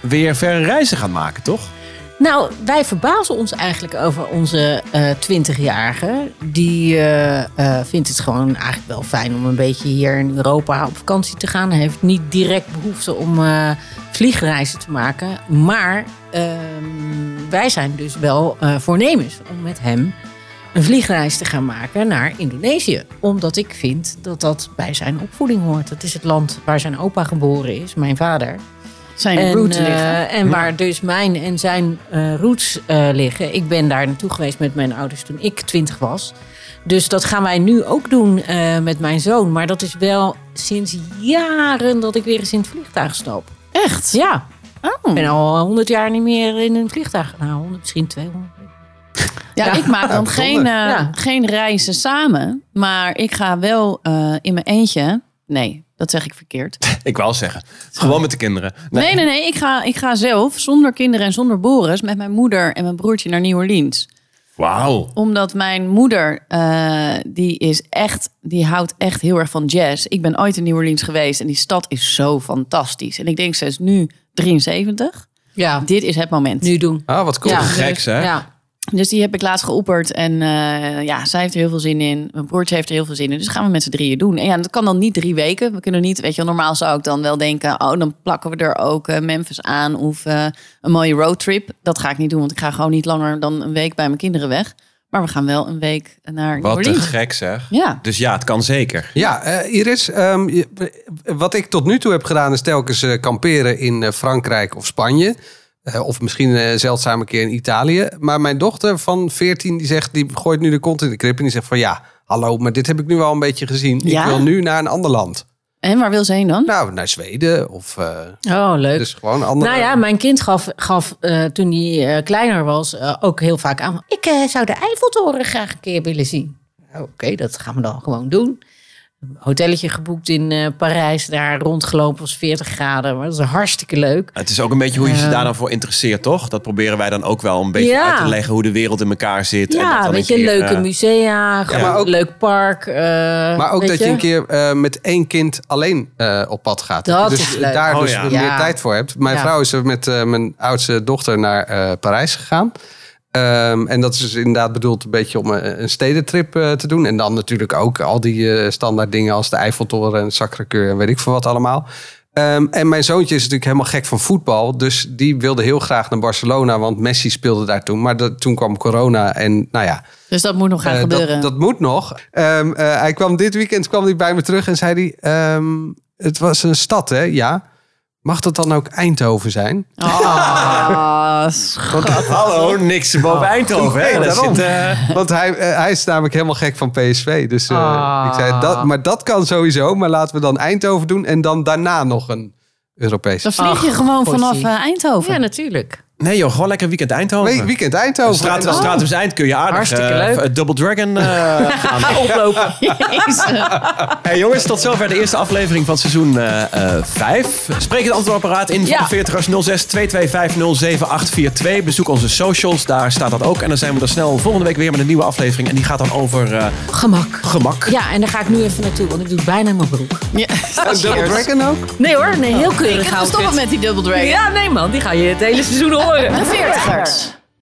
weer verre reizen gaat maken, toch? Nou, wij verbazen ons eigenlijk over onze eh 20-jarige. Die eh, eh, vindt het gewoon eigenlijk wel fijn om een beetje hier in Europa op vakantie te gaan. Hij heeft niet direct behoefte om eh, vliegreizen te maken. Maar ehm, wij zijn dus wel eh, voornemens om met hem een vliegreis te gaan maken naar Indonesië. Omdat ik vind dat dat bij zijn opvoeding hoort. Dat is het land waar zijn opa geboren is, mijn vader. Zijn route eh, liggen. en waar dus mijn en zijn eh, roots eh, liggen. Ik ben daar naartoe geweest met mijn ouders toen ik twintig was. Dus dat gaan wij nu ook doen eh, met mijn zoon. Maar dat is wel sinds jaren dat ik weer eens in het vliegtuig stap. Echt? Ja, ik Oh. ben al eh, honderd jaar niet meer in een vliegtuig. Nou, 100, misschien 200. Ja, Ja. ik maak dan geen, eh, Ja. geen reizen samen. Maar ik ga wel eh, in mijn eentje. Nee, dat zeg ik verkeerd. Ik wou zeggen. Gewoon met de kinderen. Nee. Nee, nee, nee. Ik ga, ik ga zelf, zonder kinderen en zonder Boris, met mijn moeder en mijn broertje naar New Orleans. Wauw. Omdat mijn moeder, eh, die is echt, die houdt echt heel erg van jazz. Ik ben ooit in New Orleans geweest en die stad is zo fantastisch. En ik denk, ze is nu 73. Ja, Dit is het moment. nu doen. Ah, wat cool. Ja. Geks, hè? Ja. Dus die heb ik laatst geopperd. En eh, ja, zij heeft er heel veel zin in. Mijn broertje heeft er heel veel zin in. Dus gaan we met z'n drieën doen. En ja, dat kan dan niet drie weken. We kunnen niet, weet je wel, normaal zou ik dan wel denken... oh, dan plakken we er ook eh, Memphis aan of eh, een mooie roadtrip. Dat ga ik niet doen, want ik ga gewoon niet langer dan een week bij mijn kinderen weg. Maar we gaan wel een week naar New Wat te Orleans. gek, zeg. Ja, Dus ja, het kan zeker. Ja, eh, Iris, ehm, je- eh, wat ik tot nu toe heb gedaan is telkens eh, kamperen in eh, Frankrijk of Spanje. Eh, of misschien eh, een zeldzame keer in Italië. Maar mijn dochter van 14, die zegt, die gooit nu de kont in de krip en die zegt van ja, hallo, maar dit heb ik nu al een beetje gezien. Ja? Ik wil nu naar een ander land. en waar wil ze heen dan? Nou, naar Zweden of eh, Oh, leuk. dus gewoon een andere. Nou ja, mijn kind gaf, gaf eh, toen hij eh, kleiner was eh, ook heel vaak aan. Ik eh, zou de Eiffeltoren graag een keer willen zien. Nou, Oké, dat gaan we dan gewoon doen. Een hotelletje geboekt in eh, Parijs, daar rondgelopen was 40 graden. Maar dat is hartstikke leuk. Het is ook een beetje hoe je ze daar dan voor interesseert, toch? Dat proberen wij dan ook wel een beetje Ja. uit te leggen hoe de wereld in elkaar zit. en dat Ja, dan weet een je, keer, leuke eh, musea, gewoon maar ook- een leuk park. eh, maar ook weet dat je een keer eh, met één kind alleen eh, op pad gaat. Dat je is dus leuk. daar Oh dus ja. weer Ja. meer tijd voor hebt. Mijn Ja. vrouw is er met eh, mijn oudste dochter naar eh, Parijs gegaan. Ehm, en dat is dus inderdaad bedoeld een beetje om een, een stedentrip eh, te doen. En dan natuurlijk ook al die eh, standaard dingen als de Eiffeltoren en Sacré-Cœur en weet ik veel wat allemaal. Ehm, en mijn zoontje is natuurlijk helemaal gek van voetbal. Dus die wilde heel graag naar Barcelona, want Messi speelde daar toen. Maar dat, toen kwam corona en nou ja, Dus dat moet nog gaan eh, gebeuren. dat, dat moet nog. Ehm, eh, hij kwam dit weekend kwam hij bij me terug en zei hij... ehm, het was een stad, hè? Ja. Mag dat dan ook Eindhoven zijn? Ah, schat. Hallo, niks boven Eindhoven. hè? Nee, Daar daarom. zit, eh, Want hij, eh, hij is namelijk helemaal gek van PSV. Dus eh, Ah. ik zei, dat, maar dat kan sowieso. Maar laten we dan Eindhoven doen en dan daarna nog een Europese. Dan vlieg je Ach, gewoon vanaf potje. eh, Eindhoven. Ja, natuurlijk. nee joh, gewoon lekker weekend Eindhoven. Nee, weekend Eindhoven. Oh. Straat, En dan- straat om zijn eind kun je aardig Hartstikke eh, leuk. eh, Double Dragon eh, gaan. Oplopen. Jezus. Hey jongens, tot zover de eerste aflevering van seizoen 5. Spreek het antwoordapparaat Ja. in voor de 40ers 06 225 07842. Bezoek onze socials, daar staat dat ook. En dan zijn we er snel volgende week weer met een nieuwe aflevering. En die gaat dan over eh, Gemak. gemak. Ja, en daar ga ik nu even naartoe, want ik doe het bijna in mijn broek. Ja. Double Dragon ook? Nee hoor, nee, heel keurig Ik hou ga ik stoppen het. met die double dragon. Ja, nee man, die ga je het hele seizoen horen. De veertigers.